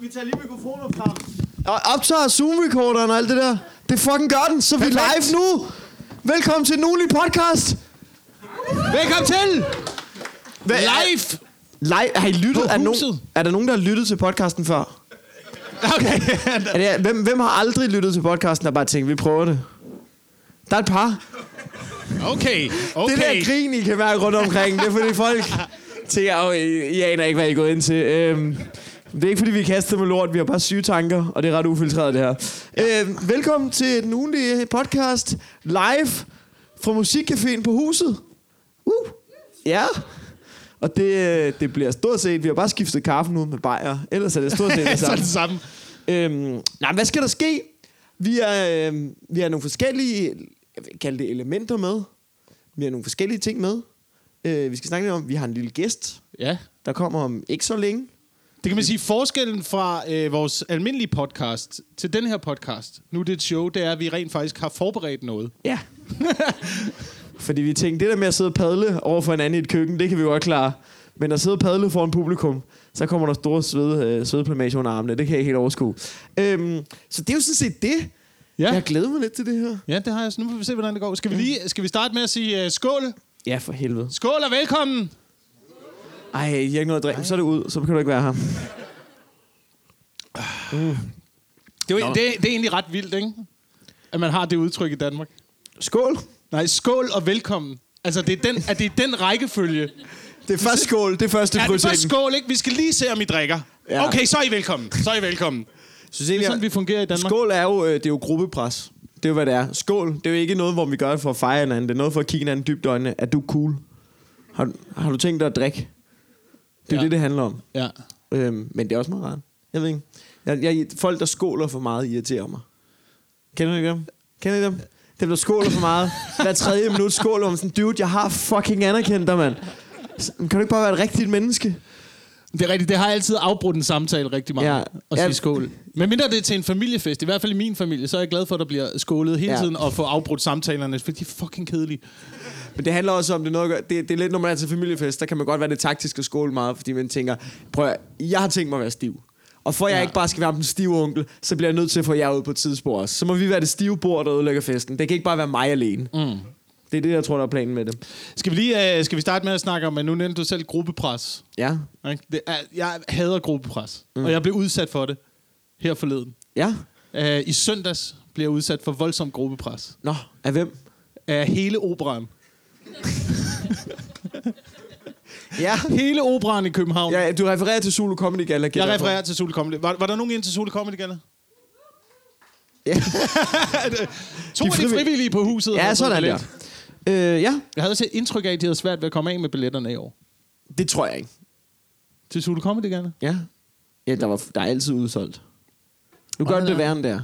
vi tager lige mikrofoner frem. Og optager Zoom-recorderen og alt det der. Det fucking gør den, så vi er live nu. Velkommen til den ugenlige podcast. Velkommen til! Hvad- Live! Live, har I lyttet? På Er, der nogen, huset. er der nogen, der har lyttet til podcasten før? Okay. Er det, hvem, hvem har aldrig lyttet til podcasten og bare tænkt, vi prøver det? Der er et par. Okay. Okay. okay. Det der grin, I kan mærke rundt omkring, det er fordi folk tænker, oh, I, I aner ikke, hvad I er gået ind til. Øhm, det er ikke, fordi vi er kastet med lort, vi har bare syge tanker, og det er ret ufiltreret, det her. Øhm, velkommen til den ugenlige podcast live fra Musikcaféen på huset. Uh, ja. Og det, øh, det bliver stort set, vi har bare skiftet kaffen ud med bajer. Ellers er det stort set det så er samme. det samme. Øhm, nej, hvad skal der ske? Vi er, øhm, vi har nogle forskellige, jeg vil kalde det elementer med. Vi har nogle forskellige ting med. Øh, vi skal snakke lidt om, vi har en lille gæst, Ja. der kommer om ikke så længe. Det kan man sige, forskellen fra øh, vores almindelige podcast til den her podcast, nu er det et show, det er, at vi rent faktisk har forberedt noget. Ja. Fordi vi tænkte, det der med at sidde og padle over for hinanden i et køkken, det kan vi godt klare. Men at sidde og padle foran publikum, så kommer der store sved, øh, svedplamage under armene. Det kan jeg ikke helt overskue. Øhm, så det er jo sådan set det. Ja. Jeg glæder mig lidt til det her. ja, det har jeg. Så nu får vi se, hvordan det går. Skal vi, lige, skal vi starte med at sige øh, skål? Ja, for helvede. Skål og velkommen! Ej, jeg har ikke noget at drikke. Så er det ud, så kan du ikke være her. Det er, jo, det, det er egentlig ret vildt, ikke? At man har det udtryk i Danmark. Skål. Nej, skål og velkommen. Altså, det er den, at det er den rækkefølge. Det er først skål, det er første Er det kryds. først skål, ikke? Vi skal lige se, om I drikker. Ja. Ja. Okay, så er I velkommen. Så er I velkommen. Synes Det er sådan, Ligesom vi fungerer i Danmark. Skål er jo, øh, det er jo gruppepres. Det er jo, hvad det er. Skål, det er jo ikke noget, hvor vi gør det for at fejre hinanden. Det er noget for at kigge hinanden dybt i øjnene. Er du cool? Har, du- har du tænkt dig at drikke? Det er ja. Ja. det, det handler om. Ja. Øhm, men det er også meget rart. Jeg ved ikke. Jeg, jeg, folk, der skåler for meget, irriterer mig. Kender du ikke dem? Kender I dem? Dem, der skåler for meget. Hver tredje minut skåler om sådan, dude, jeg har fucking anerkendt dig, mand. Så- Kan du ikke bare være et rigtigt menneske? Det er rigtigt. Det har altid afbrudt en samtale rigtig meget. Ja. Ja. Og Ja. sige skål. Men mindre det er til en familiefest, i hvert fald i min familie, så er jeg glad for, at der bliver skålet hele Ja. ja. tiden og få afbrudt samtalerne, for de er fucking kedelige. Men det handler også om, det er, noget, at gøre- det, det er lidt, når man er til familiefest, der kan man godt være det taktiske skål meget, fordi man tænker, prøv at, høre, jeg har tænkt mig at være stiv. Og for at jeg Ja. ikke bare skal være den stive onkel, så bliver jeg nødt til at få jer ud på et tidsspor også. Så må vi være det stive bord, der ødelægger festen. Det kan ikke bare være mig alene. Mm. Det er det, jeg tror, der er planen med det. Skal vi lige øh, skal vi starte med at snakke om, at nu nævnte du selv gruppepres. Ja. ikke? Det er, jeg hader gruppepres, mm. og jeg blev udsat for det her forleden. Ja. Øh, I søndags blev jeg udsat for voldsom gruppepres Nå, af hvem? af hele operan. Ja. Hele operan i København. ja du refererer til Zulu Comedy Gala. Jeg gætter på. refererer til Sule Comedy. Var, var der nogen ind til Sule Comedy Gala? Ja. to af de frivillige- frivillige på huset. havde Ja, fået sådan billet. der. Øh, ja, Jeg havde også et indtryk af, at de havde svært ved at komme af med billetterne i år. det tror jeg ikke. Til Sule Comedy Gala. Ja. Ja, der, var, der er altid udsolgt. Nu Nej, gør det nej. værre end der.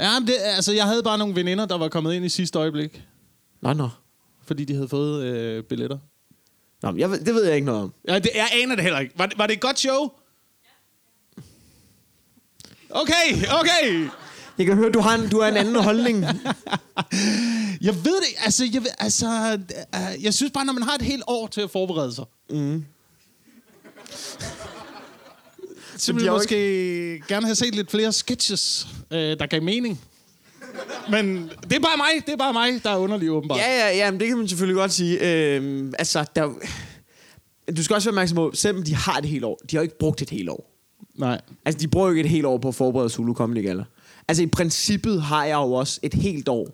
Ja, men det, altså, jeg havde bare nogle veninder, der var kommet ind i sidste øjeblik, Nå, nå. fordi de havde fået øh, billetter. Nå, men jeg, ved- det ved jeg ikke noget om. Ja, det, jeg aner det heller ikke. Var, det- var det et godt show? Okay, okay. Jeg kan høre, du har en, du har en anden holdning. Jeg ved det, altså, jeg, ved, altså, øh, jeg synes bare, når man har et helt år til at forberede sig. Mm. Så Men ville de har jeg jo måske gerne have set lidt flere sketches, øh, der gav mening. Men det er bare mig, det er bare mig, der er underlig åbenbart. Ja, ja, ja, men det kan man selvfølgelig godt sige. Øhm, altså, der, du skal også være opmærksom på, selvom de har et helt år, de har jo ikke brugt et helt år. Nej. Altså, de bruger jo ikke et helt år på at forberede Zulu Comedy Gala. Altså, i princippet har jeg jo også et helt år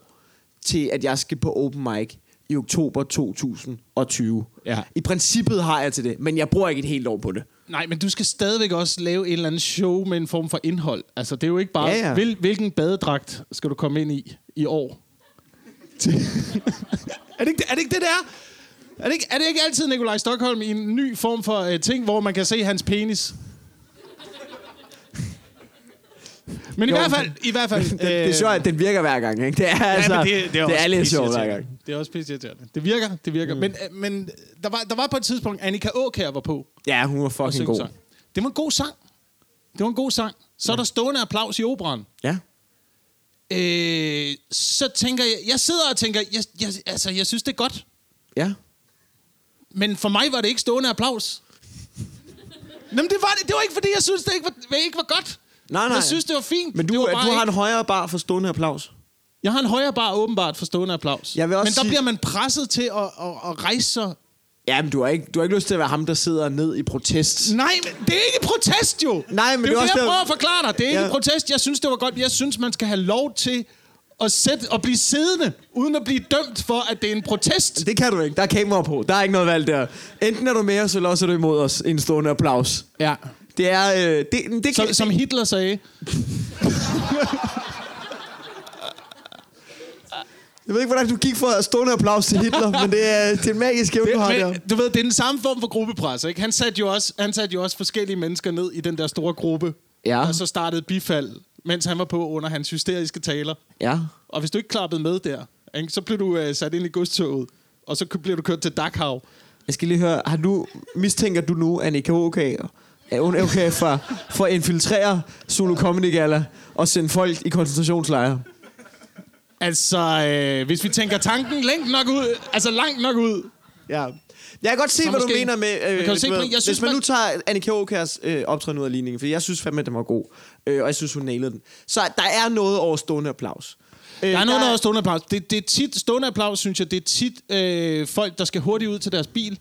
til, at jeg skal på open mic i oktober 2020. Ja. I princippet har jeg til det, men jeg bruger ikke et helt år på det. Nej, men du skal stadigvæk også lave et eller andet show med en form for indhold. Altså, det er jo ikke bare, Ja, ja, ja. ja. Hvil, hvilken badedragt skal du komme ind i i år? er, det ikke, er det ikke det, der? Er det ikke, er det ikke altid Nikolaj Stockholm i en ny form for uh, ting, hvor man kan se hans penis? Men i Jo, hvert fald... I hvert fald Det, det er sjovt, at den virker hver gang, ikke? Det er, altså, Øh. men det også er lidt pisse sjovt hver irriterende. gang. Det er også pisse irriterende. Det virker, det virker. Mm. Men, øh, men der, var, der var på et tidspunkt, Annika Åkær var på Ja, hun var og fucking synge god. sang. Det var en god sang. Det var en god sang. Så er der stående applaus i operan. Ja. Øh, så tænker jeg, jeg sidder og tænker, jeg, jeg, altså, jeg synes, det er godt. Ja. Men for mig var det ikke stående applaus. Jamen, det var, det, det var ikke, fordi jeg synes, det ikke var, ikke var godt. Nej, nej. Jeg synes, det var fint. Men du, det var du bare har ikke- en højere bar for stående applaus. Jeg har en højere bar åbenbart for stående applaus. Jeg vil også Men der sige- bliver man presset til at, at, at rejse sig. Ja, men du har, ikke, du har ikke lyst til at være ham, der sidder ned i protest. Nej, men det er ikke protest jo. Nej, men det det er er jo også det, jeg der- prøver at forklare dig. Det er ikke Ja. ja. protest. Jeg synes, det var godt. Jeg synes, man skal have lov til at, sætte, at blive siddende, uden at blive dømt for, at det er en protest. Det kan du ikke. Der er kamera på. Der er ikke noget valg der. Enten er du med os, eller også er du imod os. En stående applaus. Ja. Det er... Øh, det, det, det, Som, som Hitler sagde. Jeg ved ikke, hvordan du gik fra stående applaus til Hitler, men det er, det er en magisk evne, du har der. Men, du ved, det er den samme form for gruppepres, ikke? Han satte, jo også, han satte jo også forskellige mennesker ned i den der store gruppe. Ja. Og så startede bifald, mens han var på under hans hysteriske taler. Ja. Og hvis du ikke klappede med der, ikke, så blev du øh, sat ind i godstoget, og så blev du kørt til Dachau. Jeg skal lige høre, har du, mistænker du nu E Annika okay, er hun okay for, for at infiltrere Zulu Comedy Gala og sende folk i koncentrationslejre? Altså, øh, hvis vi tænker tanken længt nok ud, altså langt nok ud. Ja. Jeg kan godt se, Så hvad måske- du mener med... Øh, kan jo se, du Brian, jeg hvis synes, man, man- nu tager Annika Aukers øh, optræden ud af ligningen, for jeg synes fandme, at den var god, øh, og jeg synes, hun nailede den. Så der er noget over stående applaus. Øh, Der er noget, der er stående applaus. Det, det er tit, stående applaus, synes jeg, det er tit øh, folk, der skal hurtigt ud til deres bil.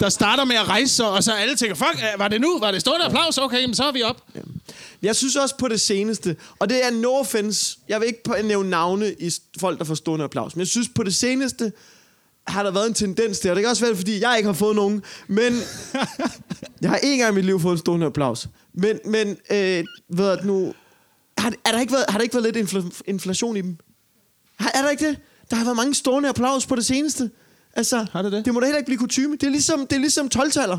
Der starter med at rejse sig, og så alle tænker, fuck, øh, var det nu? Var det stående applaus? Okay, men så er vi op. Øhm, Jeg synes også på det seneste, og det er no offense, jeg vil ikke på- nævne navne i s- folk, der får stående applaus, men jeg synes på det seneste, har der været en tendens til, og det kan også være, fordi jeg ikke har fået nogen, men jeg har én gang i mit liv fået en stående applaus. Men, men øh, ved du nu, har, er der ikke været, har der ikke været lidt infl- inflation i dem? Har, er der ikke det? Der har været mange stående applaus på det seneste. Altså, Har det det? det må da heller ikke blive kutume. Det er ligesom, det er ligesom 12-taller.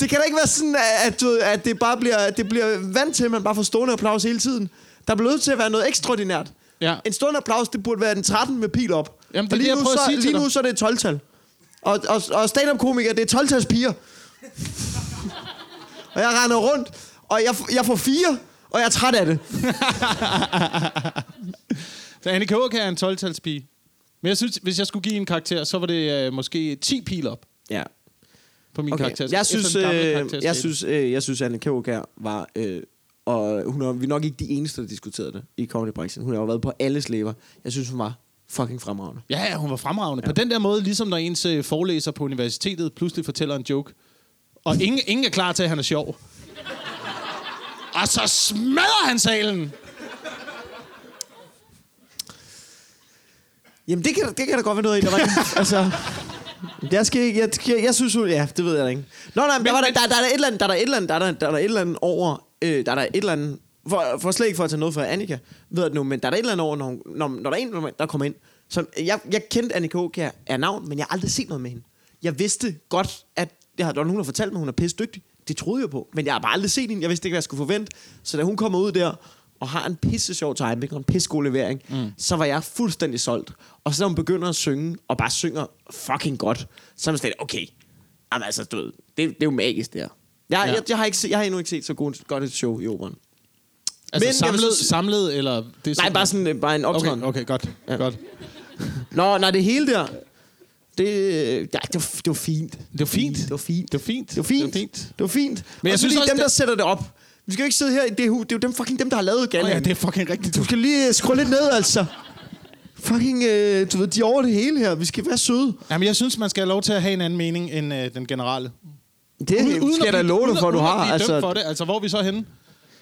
Det kan da ikke være sådan, at, at, du ved, at det bare bliver, at det bliver vant til, at man bare får stående applaus hele tiden. Der bliver nødt til at være noget ekstraordinært. Ja. En stående applaus, det burde være den 13 med pil op. Jamen, det Og er det, jeg nu, prøver at så, sige til lige nu dig. så er det 12-tal. Og, og, og stand-up-komikere, det er 12-tals piger. og jeg render rundt, og jeg, f- jeg får fire, og jeg er træt af det. Så Annika Håk er en 12-talspige. Men jeg synes, hvis jeg skulle give en karakter, så var det øh, måske 10 pil op Ja. på min Okay. karakter. Jeg synes, øh, jeg synes, øh, jeg synes, Anne Kjær var... Øh, og hun er, vi er nok ikke de eneste, der diskuterede det i comedybranchen. Hun har jo været på alles læber. Jeg synes, hun var fucking fremragende. Ja, ja, hun var fremragende. Ja. På den der måde, ligesom når ens øh, forelæser på universitetet pludselig fortæller en joke. Og ingen, ingen er klar til, at han er sjov. Og så smadrer han salen! Altså, Jamen, det kan, det kan da godt være noget i, der var ikke- altså, jeg, skal, ikke- jeg, jeg, jeg synes hun, ja, det ved jeg da ikke. Nå, nej, men, der, var, der, der, der, er da et eller andet, der er der et eller andet, der er der, der, er der et eller andet over, øh, der er der et eller andet, for, for slet ikke for at tage noget fra Annika, ved jeg nu, men der er der et eller andet over, når, hun, når, når der er en, der kommer ind, som, jeg, jeg kendte Annika Aukjær af navn, men jeg har aldrig set noget med hende. Jeg vidste godt, at jeg havde, nogen, der fortalt mig, at hun er pisse dygtig. Det troede jeg på, men jeg har bare aldrig set hende. Jeg vidste ikke, hvad jeg skulle forvente. Så da hun kommer ud der, og har en pisse sjov timing og en pisse god levering, mm. så var jeg fuldstændig solgt. Og så når hun begynder at synge, og bare synger fucking godt, så er man slet, okay, Jamen, altså, du ved, det, det er jo magisk, det her. Jeg, Ja. ja. jeg, jeg, har ikke, se- jeg har endnu ikke set så god, godt et show i operan. Altså Men jeg men samlet, vil synes... så- samlet, eller... Det er Nej, bare sådan øh, bare en optræden. Okay, Okay, okay. okay, godt. Ja. Ja. godt. Nå, nej, det hele der, det, øh, ja, det, var, det var fint. Det var fint. Det var fint. Det var fint. Det var fint. Det var fint. Det var fint. Men jeg synes synes også, også, dem, det- der sætter det op. Vi skal jo ikke sidde her i det hus. Det er jo dem, fucking dem, der har lavet Oh, galaen. ja, det er fucking rigtigt. Du skal lige øh, skrue lidt ned, altså. Fucking, øh, du ved, de er over det hele her. Vi skal være søde. Jamen, jeg synes, man skal have lov til at have en anden mening end øh, den generelle. Det skal jeg da blive- love dig uden- for, du uden at har. blive Altså, dømt for det. Altså, hvor er vi så henne?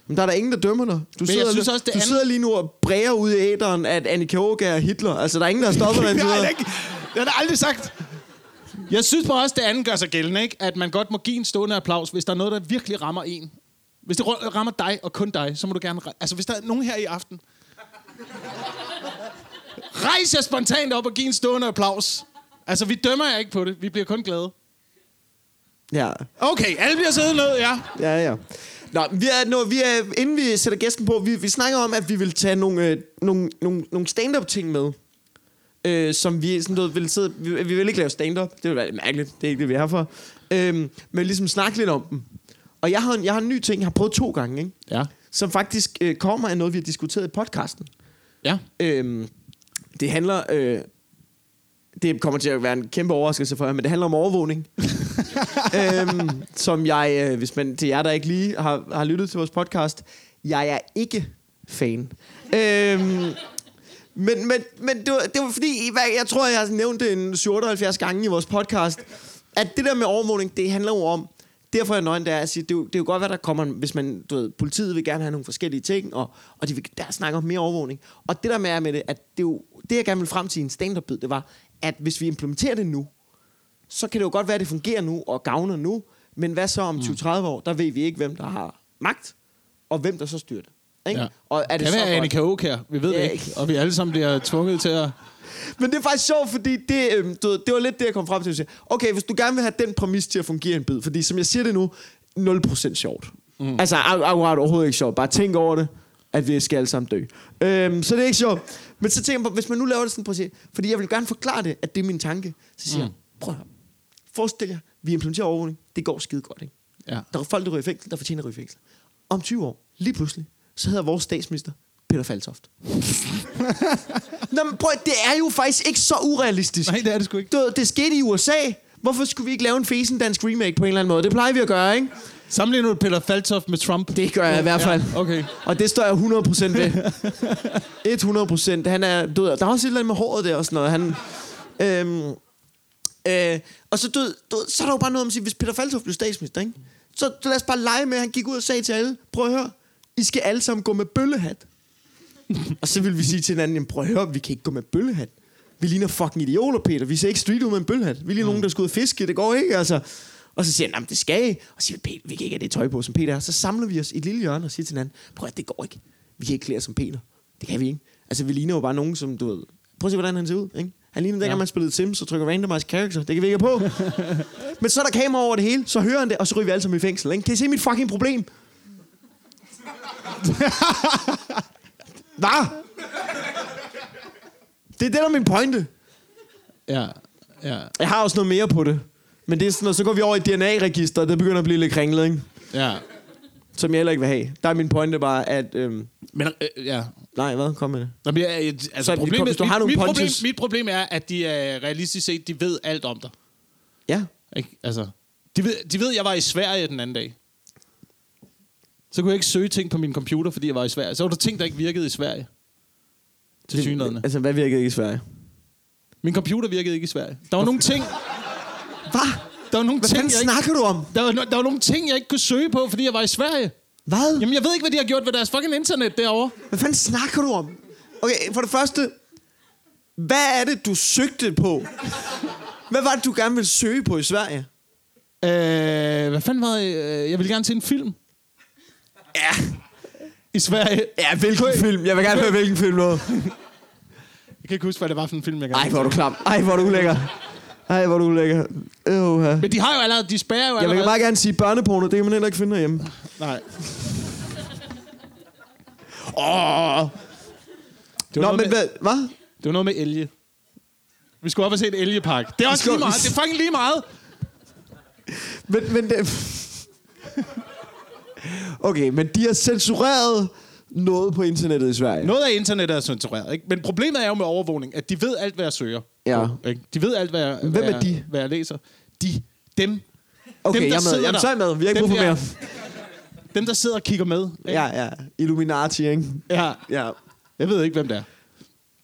men der er der ingen, der dømmer dig. Du, sidder, synes også, det du andet- sidder lige nu og bræger ud i æderen, at Annika Åge er Hitler. Altså, der er ingen, der har stoppet dig. indtil det har jeg da videre. ikke. Det har jeg da aldrig sagt. Jeg synes bare også, det andet gør sig gældende, ikke? at man godt må give en stående applaus, hvis der er noget, der virkelig rammer en. Hvis det ru- rammer dig og kun dig, så må du gerne... re- Altså, hvis der er nogen her i aften... Rejs jer spontant op og giv en stående applaus. Altså, vi dømmer jer ikke på det. Vi bliver kun glade. Ja, Okay, alle bliver siddet ned, ja. ja, ja. Nå, vi er, nå, vi er, inden vi sætter gæsten på, vi, vi snakker om, at vi vil tage nogle, øh, nogle, nogle, nogle stand-up-ting med. øh, som vi sådan noget, vil sidde... Vi, vi vil ikke lave stand-up. Det vil være lidt mærkeligt. Det er ikke det, vi er her for. Øhm, men ligesom snakke lidt om dem. Og jeg har, en, jeg har en ny ting, jeg har prøvet to gange, ikke? Ja. som faktisk øh, kommer af noget, vi har diskuteret i podcasten. Ja. Øhm, det handler... Øh, det kommer til at være en kæmpe overraskelse for jer, men det handler om overvågning. øhm, som jeg, øh, hvis man til jer, der ikke lige har, har lyttet til vores podcast, jeg er ikke fan. Øhm, men, men, men det, var, det var fordi, hvad- jeg tror, jeg har nævnt det en 78 gange i vores podcast, at det der med overvågning, det handler jo om, derfor er jeg nøgen, der er at sige, det, er jo- det er jo godt, hvad der kommer, hvis man, du ved, politiet vil gerne have nogle forskellige ting, og, og de vil der snakker om mere overvågning. Og det der med, er med det, at det, er jo, det jeg gerne vil frem til i en stand-up bid, det var, at hvis vi implementerer det nu, så kan det jo godt være, at det fungerer nu og gavner nu, men hvad så Mm. om 20-30 år? Der ved vi ikke, hvem der har magt, og hvem der så styrer det. Ikke? Ja. Og er det, Det kan så være godt? Annika Auk her. Vi ved Ja, det ikke. ikke. Og vi alle sammen bliver tvunget til at... Men det er faktisk sjovt, fordi det, øhm, du ved, det var lidt det, jeg kom frem til. at sige, Okay, hvis du gerne vil have den præmis til at fungere i en bid, fordi som jeg siger det nu, 0% sjovt. Mm. Altså, ak- akkurat overhovedet ikke sjovt. Bare tænk over det, at vi skal alle sammen dø. Øhm, så det er ikke sjovt. Men så tænker jeg på, hvis man nu laver det sådan, prøv at se, fordi jeg vil gerne forklare det, at det er min tanke, så siger mm. jeg, prøv at høre. Forestil jer, vi implementerer overvågning. Det går skide godt, ikke? Ja. Der er folk, der ryger i fængsel, der fortjener at ryge i fængsel. Om 20 år, lige pludselig, så hedder vores statsminister Peter Faltoft. Nå, men prøv, at- det er jo faktisk ikke så urealistisk. Nej, det er det sgu ikke. Du ved, det skete i USA. Hvorfor skulle vi ikke lave en fesen dansk remake på en eller anden måde? Det plejer vi at gøre, ikke? Sammenligner du Peter Faltoff med Trump? Det gør jeg i hvert fald. Ja, okay. Og det står jeg 100% ved. 100%. Han er død. Der er også et eller andet med håret der og sådan noget. Han, øhm, øh, og så, død, død, så er der jo bare noget om at sige, hvis Peter Faltoff blev statsminister, ikke? Så lad os bare lege med, at han gik ud og sagde til alle, prøv at høre, I skal alle sammen gå med bøllehat. og så vil vi sige til hinanden, "Jamen, prøv at høre, vi kan ikke gå med bøllehat. Vi ligner fucking idioter, Peter. Vi ser ikke street ud med en bøllehat. Vi ligner mm. nogen, der skal ud og fiske. Det går ikke, altså. Og så siger han, "Jamen, det skal I. Og så siger vi, Peter, vi kan ikke have det tøj på, som Peter er. Så samler vi os i et lille hjørne og siger til hinanden, prøv at det går ikke. Vi kan ikke klæde os som Peter. Det kan vi ikke. Altså, vi ligner jo bare nogen, som du ved. Prøv at se, hvordan han ser ud, ikke? Han ligner dengang, ja. man spillede Sims og trykker randomized character. Det kan vi ikke have på. Men så er der kamera over det hele, så hører han det, og så ryger vi alle sammen i fængsel. Ikke? Kan I se mit fucking problem? Hvad? Det er det, der er min pointe. Ja. Ja. Jeg har også noget mere på det. Men det er sådan noget, så går vi over i DNA-registeret, det begynder at blive lidt kringlet, ikke? Ja. Som jeg heller ikke vil have. Der er min pointe bare, at... Øhm, Men, øh, ja. nej, hvad? Kom med det. Nå, men, jeg- jeg- altså, Så, problemet, hvis du mit, har nogle mit, problem, punches- mit problem er, at de øh, realistisk set, de ved alt om dig. Ja. Ikke? Altså, de, ved, de ved, at jeg var i Sverige den anden dag. Så kunne jeg ikke søge ting på min computer, fordi jeg var i Sverige. Så var der ting, der ikke virkede i Sverige. Til synligheden. Altså, hvad virkede ikke i Sverige? Min computer virkede ikke i Sverige. Der var nogle ting, Hvad? der var nogle Hvad ting, fanden jeg ikke, snakker du om? der var, no- der var nogle ting, jeg ikke kunne søge på, fordi jeg var i Sverige. Hvad? Jamen, jeg ved ikke, hvad de har gjort ved deres fucking internet derovre. Hvad fanden snakker du om? Okay, for det første, hvad er det, du søgte på? Hvad var det, du gerne ville søge på i Sverige? Øh, hvad fanden var det? Øh, Jeg ville gerne se en film. Ja, I Sverige. ja hvilken film? Jeg vil gerne høre, hvilken film noget. Jeg kan ikke huske, hvad det var for en film, jeg gerne Ej, hvor er du klam. Ej, hvor er du ulækker. Ej, hvor er du ulækker. Øvha. Men de har jo allerede, de spærrer jo Jeg allerede. vil bare gerne sige børneporno, det kan man heller ikke finde herhjemme. Nej. Åh. Det var, Nå, noget men med, hvad? Hvad? det var noget med elge. Vi skulle op og se et elgepark. Det er også skal- lige meget. Det er fucking lige meget. Men, men det... Okay, men de har censureret noget på internettet i Sverige. Noget af internettet er censureret, ikke? Men problemet er jo med overvågning, at de ved alt, hvad jeg søger. Ja. Ikke? De ved alt, hvad jeg, Hvem hvad er jeg- de? Hvad jeg læser. De. Dem. Okay, dem, der jeg er sidder med. Jamen, der. så er jeg med. Vi har ikke Dem brug for der. mere. Dem, der sidder og kigger med. ikke? Ja, ja. Illuminati, ikke? ja. Ja. Jeg ved ikke, hvem det er.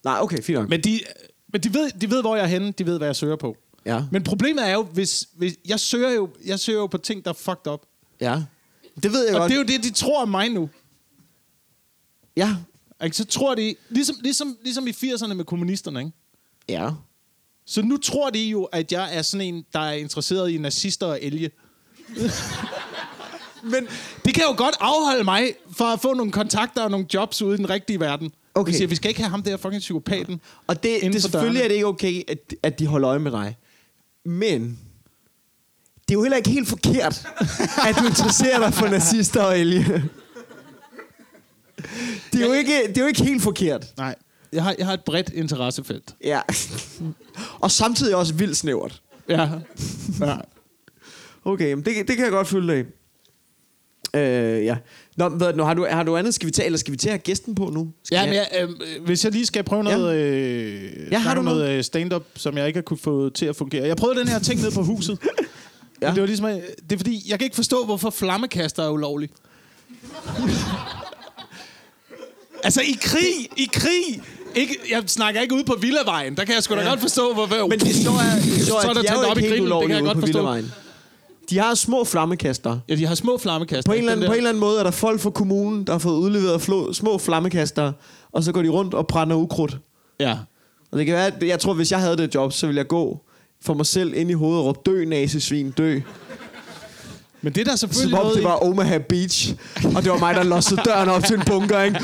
Nej, okay, fint nok. Men de, men de, ved, de ved, hvor jeg er henne. De ved, hvad jeg søger på. Ja. Men problemet er jo, hvis, hvis jeg, søger jo, jeg søger jo på ting, der er fucked up. Ja. Det ved jeg Og godt. det er jo det, de tror om mig nu. Ja. Ikke? Så tror de, ligesom, ligesom, ligesom i 80'erne med kommunisterne, ikke? Ja. Så nu tror de jo, at jeg er sådan en, der er interesseret i nazister og elge. Men, Det kan jo godt afholde mig fra at få nogle kontakter og nogle jobs ude i den rigtige verden. Okay. Vi siger, vi skal ikke have ham der fucking psykopaten. og det, Inden det for selvfølgelig dørene. er det ikke okay, at, at de holder øje med dig. Men, det er jo heller ikke helt forkert, at du interesserer dig for nazister og elge. Det er, jo ikke, det er jo ikke helt forkert. Nej, jeg har, jeg har et bredt interessefelt. Ja. Og samtidig også vildt snævert. Ja. ja. Okay, men det, det kan jeg godt følge dig i. Øh, ja. Nå, men hvad, er det nu, har, du, har du andet? Skal vi tage, eller skal vi tage at have gæsten på nu? Skal Ja, jeg- men jeg, øh, hvis jeg lige skal prøve noget, øh, Ja, har du snakke om noget øh, stand-up, som jeg ikke har kunne få til at fungere. Jeg prøvede den her ting nede på huset. Ja. ja. Men det var ligesom, øh, det er fordi, jeg kan ikke forstå, hvorfor flammekaster er ulovligt. altså i krig, i krig. Ikke, jeg snakker ikke ude på Villavejen. Der kan jeg sgu da godt forstå, hvorfor... Men det står jeg, det Så står er jeg, der de er tændt jo op i ikke helt grillen, det kan ulovlige jeg ude godt på forstå. Villavejen. De har små flammekaster. Ja, de har små flammekaster. På en, eller anden, Den der- på en eller anden måde er der folk fra kommunen, der har fået udleveret flå, små flammekaster, og så går de rundt og brænder ukrudt. Ja. Og det kan være, at jeg tror, hvis jeg havde det job, så ville jeg gå for mig selv ind i hovedet og råbe, dø, nasesvin, dø. Men det er der selvfølgelig Som om noget det i. var Omaha Beach, og det var mig, der lossede døren op til en bunker, ikke?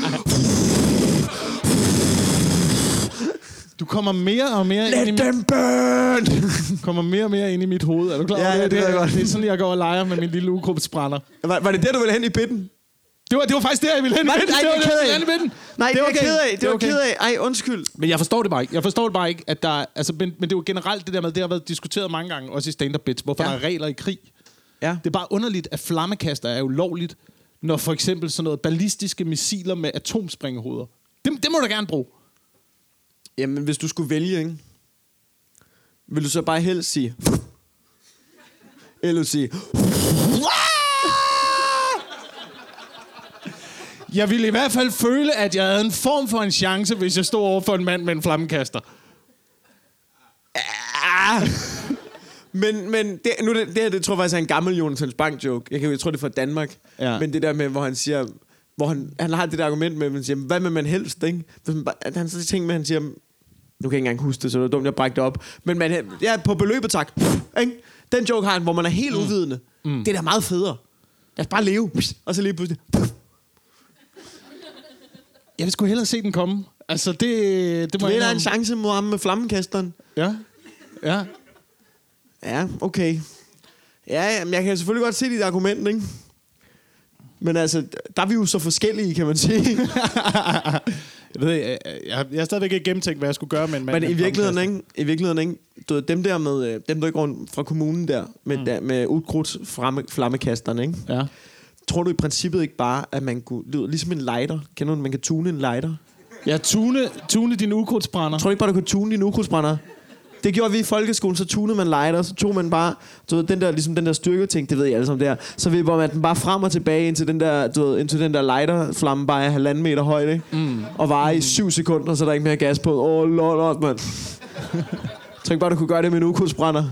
Du kommer mere og mere ind i Let mit, them burn! kommer mere og mere ind i mit hoved. Er du klar Ja, over ja, det ved jeg det, godt. det er sådan, jeg går og leger med min lille ugruppesbrænder. Var, var det der, du ville hen i bitten? Det var, det var faktisk der, jeg ville hen med Nej, den. nej, det var det er der, ked af. jeg ville hen med den. Nej, det, er var okay. ked af. Det, er var okay. ked af. Ej, undskyld. Men jeg forstår det bare ikke. Jeg forstår det bare ikke, at der... er- Altså, men, men det er jo generelt det der med, det har været diskuteret mange gange, også i stand-up bits, hvorfor Ja. ja. der er regler i krig. Ja. Det er bare underligt, at flammekaster er ulovligt, når for eksempel sådan noget ballistiske missiler med atomspringehoveder. Det, det må du gerne bruge. Jamen, hvis du skulle vælge, ikke? Vil du så bare helst sige... Eller sige... Jeg ville i hvert fald føle, at jeg havde en form for en chance, hvis jeg stod over for en mand med en flammekaster. Ah! Men, men det, nu, det, det her, det tror jeg faktisk er en gammel Jonas Hans Bank joke. Jeg, kan, jeg tror, det er fra Danmark. Ja. Men det der med, hvor han siger... Hvor han, han har det der argument med, at man siger, hvad med man helst, ikke? Hvis man bare, at han så tænker med, at han siger, nu kan jeg ikke engang huske det, så det var dumt, jeg brækte det op. Men man, ja, på beløbet tak. Ikke? Den joke har han, hvor man er helt mm. uvidende. Mm. Det er da meget federe. Lad os bare leve. Og så lige pludselig... Jeg skulle hellere se den komme. Altså, det, det Du må jeg vinder en indrømme. chance mod ham med flammekasteren. Ja. Ja. Ja, okay. Ja, ja, men jeg kan selvfølgelig godt se dit argument, ikke? Men altså, der er vi jo så forskellige, kan man sige. jeg ved, jeg, jeg, jeg har stadigvæk ikke gennemtænkt, hvad jeg skulle gøre med en mand. Men med i en virkeligheden, flammekaster. ikke? I virkeligheden, ikke? Du ved, dem der med, øh, dem der går rundt fra kommunen der, med, mm. der, med ukrudt fremme, flammekasterne, ikke? Ja. Tror du i princippet ikke bare, at man kunne, lyder ligesom en lighter? Kender du, den? man kan tune en lighter? Ja, tune, tune din ukrudtsbrænder. Tror du ikke bare, du kunne tune dine ukrudtsbrændere? Det gjorde vi i folkeskolen, så tunede man lighter, så tog man bare, du ved, den der, ligesom den der styrketing, det ved jeg alle sammen der, så vipper man den bare frem og tilbage, indtil den der, du ved, indtil den der lighterflamme bare er halvanden meter højt, ikke? Mm. og varer i syv sekunder, så der er ikke mere gas på. Åh, oh, lol, lol, mand. Tror ikke bare, du kunne gøre det med en ukrudtsbrænder?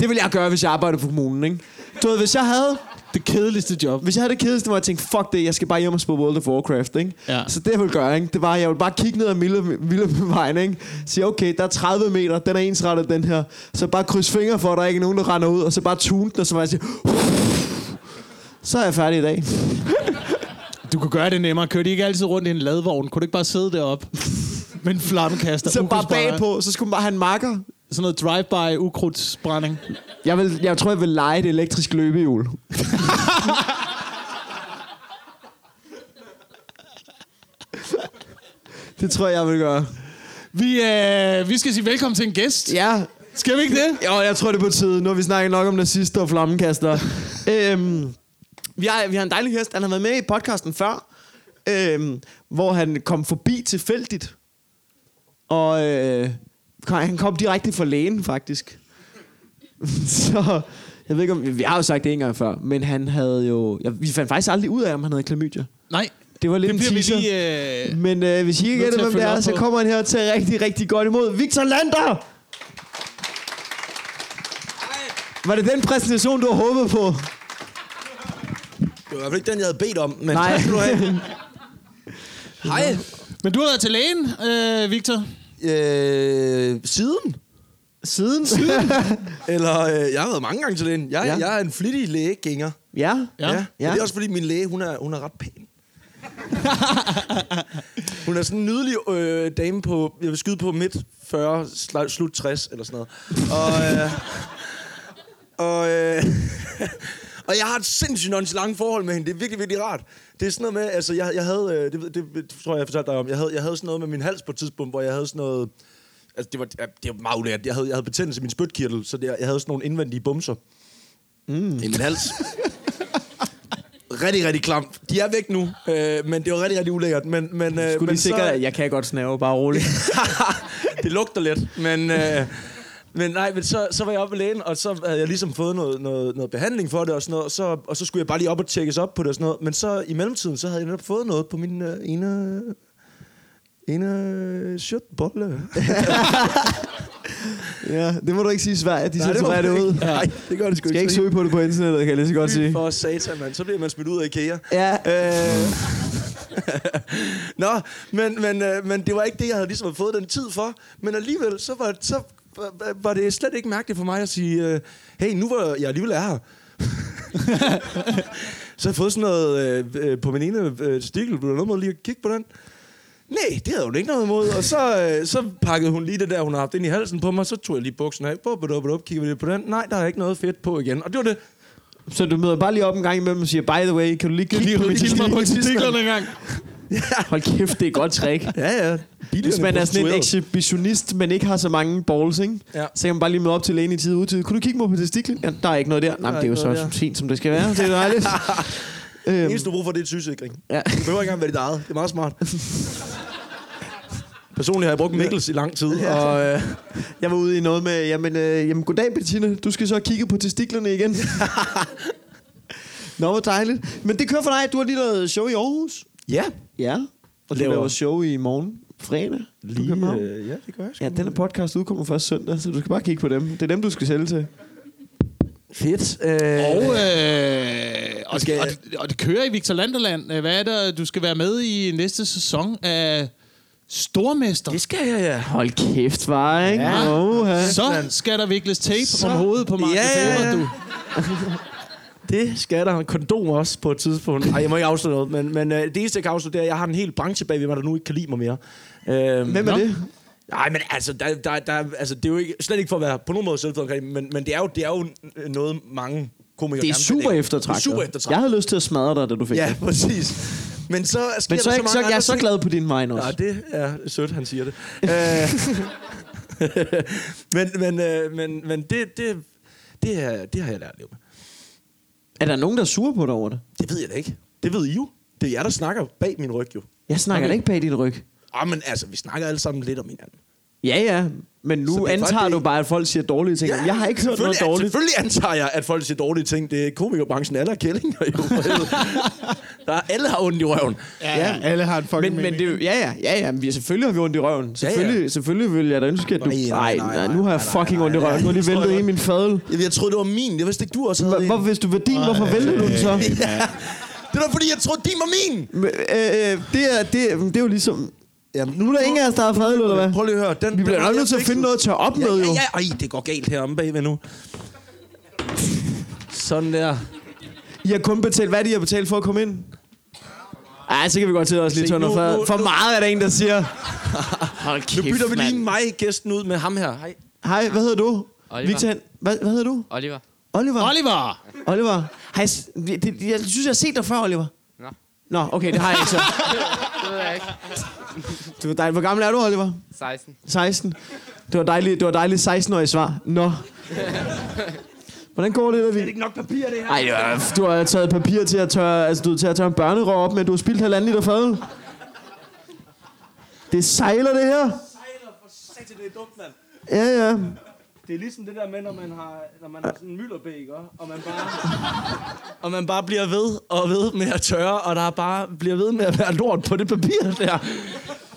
Det ville jeg gøre, hvis jeg arbejdede for kommunen, ikke? Du ved, hvis jeg havde Det kedeligste job. hvis jeg havde det kedeligste, hvor jeg tænkte, fuck det, jeg skal bare hjem og spille World of Warcraft, ikke? Ja. Så det, jeg ville gøre, ikke? det var, at jeg ville bare kigge ned ad Mille- Millevejen, ikke? Sige, okay, der er 30 meter, den er ensrettet, den her. Så bare kryds fingre for, at der ikke er nogen, der render ud, og så bare tune den, og så bare sige, så er jeg færdig i dag. Du kunne gøre det nemmere. Kørte de ikke altid rundt i en ladvogn? Kunne du ikke bare sidde deroppe med en flammekaster? Så bare ukrudtsbrænder? bagpå, så skulle man bare have en marker. Sådan noget drive-by ukrudtsbrænding. Jeg, vil, jeg tror, jeg vil lege et elektrisk løbehjul. det tror jeg, jeg vil gøre. Vi, øh, vi skal sige velkommen til en gæst. Ja, Skal vi ikke det? Jo, jeg tror, det er på tide. Nu har vi snakket nok om nazister og flammekaster. øhm, vi, har, vi har en dejlig gæst. Han har været med i podcasten før, øhm, hvor han kom forbi tilfældigt. Og øh, han kom direkte fra lægen, faktisk. Så jeg ved ikke, om... Vi har jo sagt det en gang før, men han havde jo... Ja, vi fandt faktisk aldrig ud af, om han havde klamydia. Nej. Det var lidt Det en bliver vi teaser. lige... Øh... Men øh, hvis I ikke Nødt gætter, til at hvem det følge er, op så på. kommer han her til rigtig, rigtig godt imod. Victor Lander! Var det den præsentation, du har håbet på? Det var i hvert fald ikke den, jeg havde bedt om, men Nej. Nej. tak skal du have. Hej. Men du har været til lægen, øh, Victor. Øh, siden? Siden? Siden? Eller, øh, jeg har været mange gange til den. Jeg, Ja. ja. jeg er en flittig lægegænger. ja. Ja. Ja. Ja. ja. Det er også fordi, min læge, hun er, hun er ret pæn. hun er sådan en nydelig øh, dame på, jeg vil skyde på midt 40, sl- slut 60 eller sådan noget. Og, øh, og, øh, og jeg har et sindssygt nonchalant forhold med hende. Det er virkelig, virkelig rart. Det er sådan noget med, altså jeg, jeg havde, øh, det, ved- det, det tror jeg, jeg fortalte dig om, jeg havde, jeg havde sådan noget med min hals på et tidspunkt, hvor jeg havde sådan noget, altså det var, ja, det var meget ulækkert. Jeg havde, jeg havde betændelse i min spytkirtel, så det, jeg havde sådan nogle indvendige bumser mm. i min hals rigtig, rigtig klamt. De er væk nu, øh, men det var rigtig, rigtig ulækkert. Men, men, øh, Skulle men de sikre, at jeg kan godt snave, bare roligt. det lugter lidt, men... Øh, men nej, men så, så var jeg oppe ved lægen, og så havde jeg ligesom fået noget, noget, noget behandling for det og sådan noget, og så, og så skulle jeg bare lige op og tjekkes op på det og sådan noget. Men så i mellemtiden, så havde jeg netop fået noget på min øh, ene... ene shotbolle. ja, det må du ikke sige i Sverige, de Nej, det må censurerer det, man ud. ikke. Nej, det gør det sgu Skal ikke så søge på det på internettet, kan jeg lige så godt sige. For satan, mand. Så bliver man smidt ud af IKEA. Ja, Øh. Nå, men, men, øh, men det var ikke det, jeg havde ligesom fået den tid for. Men alligevel, så var, så var- var det slet ikke mærkeligt for mig at sige, øh, hey, nu hvor jeg alligevel er her. så har jeg fået sådan noget øh, øh, på min ene øh, stikkel. Blev der noget med lige at kigge på den? Nej, det havde hun ikke noget imod. Og så, øh, så pakkede hun lige det der, hun har haft ind i halsen på mig. Så tog jeg lige buksen af. Bup, bup, bup, kigger vi lidt på den. Nej, der er ikke noget fedt på igen. Og det var det. så du møder bare lige op en gang imellem og siger, by the way, kan du lige kigge Lige på mit kilde mig på testikler? testiklerne engang. Hold kæft, det er et godt trick. Ja, ja. Hvis man er sådan en prostitueret. exhibitionist, men ikke har så mange balls, ikke? Ja. så kan man bare lige møde op til lægen i tid og utid. Kunne du kigge mig på testiklen? Ja, der er ikke noget der. Nej, men det er jo ikke noget så der. fint, som det skal være. Det er dejligt. Det øhm, eneste, du bruger for, det er sygesikring. ja. Du behøver ikke engang være dit eget. Det er meget smart. Personligt har jeg brugt Mikkels i lang tid, og øh, Jeg var ude i noget med, jamen, øh, jamen goddag Bettine, du skal så kigge på testiklerne igen. Nå, hvor dejligt. Men det kører for dig, du har lige lavet show i Aarhus. ja, Ja. Og du Laver- laver, show i morgen, fredag. lige, øh... øh, ja, det gør jeg sgu. Ja, den her podcast udkommer først søndag, så du skal bare kigge på dem. Det er dem, du skal sælge til. Fedt. Øh, Og, øh, og, skal- og, det- og det kører i Victor Landerland. Øh, Hvad er det, du skal være med i næste sæson af Stormester? det skal jeg, ja. Hold kæft, var ikke? Ja. Oha. Så skal der vikles tape om hovedet på Martin Ja, ja, ja. Bøhmer, du. Det skal der. Kondom også på et tidspunkt. Nej, jeg må ikke afsløre noget, men, men øh, det eneste, jeg kan afsløre, det er, at jeg har en hel branche bagved mig, der nu ikke kan lide mig mere. Øh, Hvem er Nå. det? Nej, men altså, der, der, der, altså, det er jo ikke, slet ikke for at være på nogen måde selvfølgelig, men, men det, er jo, det er jo n- noget, mange komikere Det er gerne vil super ikke? eftertragtet. Det er super eftertragtet. Jeg havde lyst til at smadre dig, da du fik Ja, det. præcis. Men så sker Men så, er der så jeg, mange så, jeg er andre så ting. glad på din vejen også. Nej, det er sødt, han siger det. Øh, men men, øh, men, men det, det, det, er, det har jeg lært at leve med. Er der nogen, der er sure på dig over det? Det ved jeg da ikke. Det ved I jo. Det er jer, der snakker bag min ryg jo. Jeg snakker okay. da ikke bag din ryg. Ah, men altså, vi snakker alle sammen lidt om hinanden. Ja, ja. Men Så nu det er antager faktisk- du bare, at folk siger dårlige ting. Ja, jeg har ikke hørt noget selvfølgelig- dårligt. Selvfølgelig antager jeg, at folk siger dårlige ting. Det er komikerbranchen, alle er kællinger jo. for helvede. der er, alle har ondt i røven. Ja. alle har en fucking Men, men det, ja, ja, ja, ja, men vi, selvfølgelig har vi ondt i røven. Selvfølgelig, ja, ja. selvfølgelig vil jeg da ønske, at du... Nej, nej, nej, nej, nu har jeg nej, nej, fucking nej, ondt i nej, røven. Nu har det lige tror væltet jeg godt. en i min fadel. Jeg, jeg troede, det var min. Jeg vidste ikke, du også havde en. Hvor, hvis du var din, hvorfor væltede du den så? Ja. Det var fordi, jeg troede, din var min. Men, øh, øh, det, er, det, er- det er jo ligesom... Jamen, nu er der ingen af os, der har fadel, eller hvad? Prøv lige at høre. Den, Vi bliver den nok har nødt til jeg at finde noget at tørre op med, jo. Ja, ja, ja. Ej, det går galt heromme bagved nu. Sådan der. I har kun betalt, hvad er det, I har betalt for at komme ind? Ej, så kan vi godt til også lige Se, tørre noget nu- fad. nu- For nu- meget er der en, der siger. Hold kæft, Nu bytter vi mand. lige mig gæsten ud med ham her. Hej. Hej, hvad hedder du? Oliver. Victor, Han- hvad, hvad hedder du? Oliver. Oliver. Oliver! Oliver. Hej, s- det, det, jeg synes, jeg har set dig før, Oliver. Nå, Nå, okay, det har jeg ikke så. det ved jeg ikke. Det var dejligt. Hvor gammel er du, Oliver? 16. 16. Det var dejligt, det var dejligt 16-årige svar. Nå. Hvordan går det, der vi? Det er ikke nok papir, det her. Ej, øh, du har taget papir til at tørre, altså, du har til at tørre en børnerå op, men du har spildt halvanden liter fadøl. Det sejler, det her. Det er dumt, mand. Ja, ja. Det er ligesom det der med, når man har, når man har sådan en mylderbæk, og man bare... og man bare bliver ved og ved med at tørre, og der bare bliver ved med at være lort på det papir der.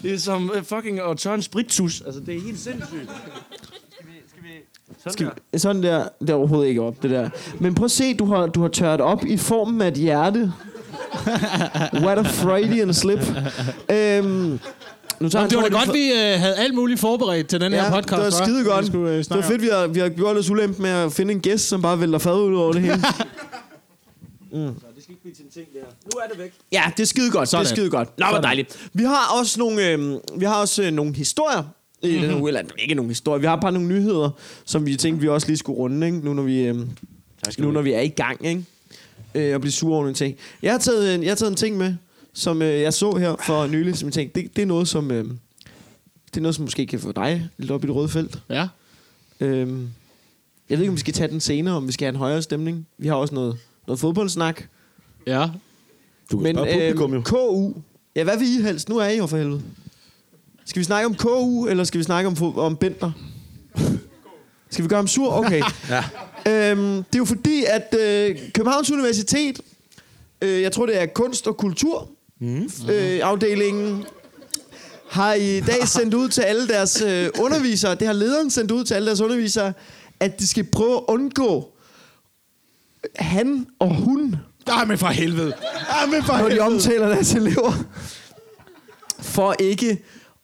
Det er som øh, fucking at tørre en sprittus. Altså, det er helt sindssygt. Skal vi... Skal vi... Sådan skal Skal der. vi- Sådan der, det er overhovedet ikke op, det der. Men prøv at se, du har, du har tørt op i formen af et hjerte. What a Freudian slip. Øhm, nu tager Det var da godt, vi øh, havde alt muligt forberedt til den her Ja, podcast. det var hva'? skide godt. Vi skulle, det øh, var snakke fedt, vi har, vi har gjort os ulemt med at finde en gæst, som bare vælter fad ud over det hele. Mm. Det skal ikke blive til en ting, det her. Nu er det væk. ja, det er skide godt. Sådan. Det er skide godt. Nå, hvor dejligt. Vi har også nogle, øh, vi har også, øh, nogle historier i Mhm. mm-hmm. den uge, eller ikke nogle historier. Vi har bare nogle nyheder, som vi tænkte, vi også lige skulle runde, ikke? nu når vi, øh, nu, når vi er i gang, ikke? Øh, og blive sure over nogle ting. Jeg har taget, en- jeg har taget en ting med, som øh, jeg så her for nylig, som jeg tænkte, det, det er noget, som... Øh, det er noget, som måske kan få dig lidt op i det røde felt. om- Ja. Øhm, jeg ved ikke, om vi skal tage den senere, om vi skal have en højere stemning. Vi har også noget, noget fodboldsnak. Ja. Du kan Men spørge publikum øh, jo. KU, ja, hvad vil I helst? Nu er I jo for helvede. Skal vi snakke om KU, eller skal vi snakke om, fo- om Bender? Skal vi gøre ham sur? Okay. Ja. Øhm, det er jo fordi, at øh, Københavns Universitet, øh, jeg tror det er kunst og kultur, mm. øh, afdelingen, har i dag sendt ud til alle deres øh, undervisere, det har lederen sendt ud til alle deres undervisere, at de skal prøve at undgå han og hun, Nej, men for helvede. Nej, men for når de helvede. omtaler deres elever, for ikke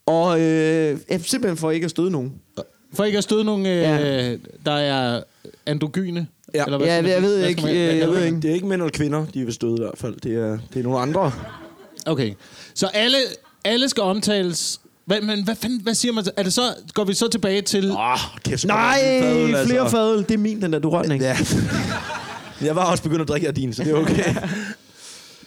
og øh, ja, simpelthen for ikke at støde nogen. For ikke at støde nogen, øh, Ja. der er androgyne. Ja. Ja, skal man- jeg ved hvad skal ikke, man- hvad øh, kalder jeg ved man- ikke. Det er ikke mænd eller kvinder, de vil støde i hvert fald. Det er, det er nogle andre. Okay. Så alle, alle skal omtales. Hvad, men hvad, fanden, hvad siger man? så? Er det så, går vi så tilbage til... Åh, oh, kæft. skal Nej, der være en fadøl, altså. flere fadøl. Det er min, den der, du rørte den ikke. Ja. Jeg var også begyndt at drikke af din, så det er okay.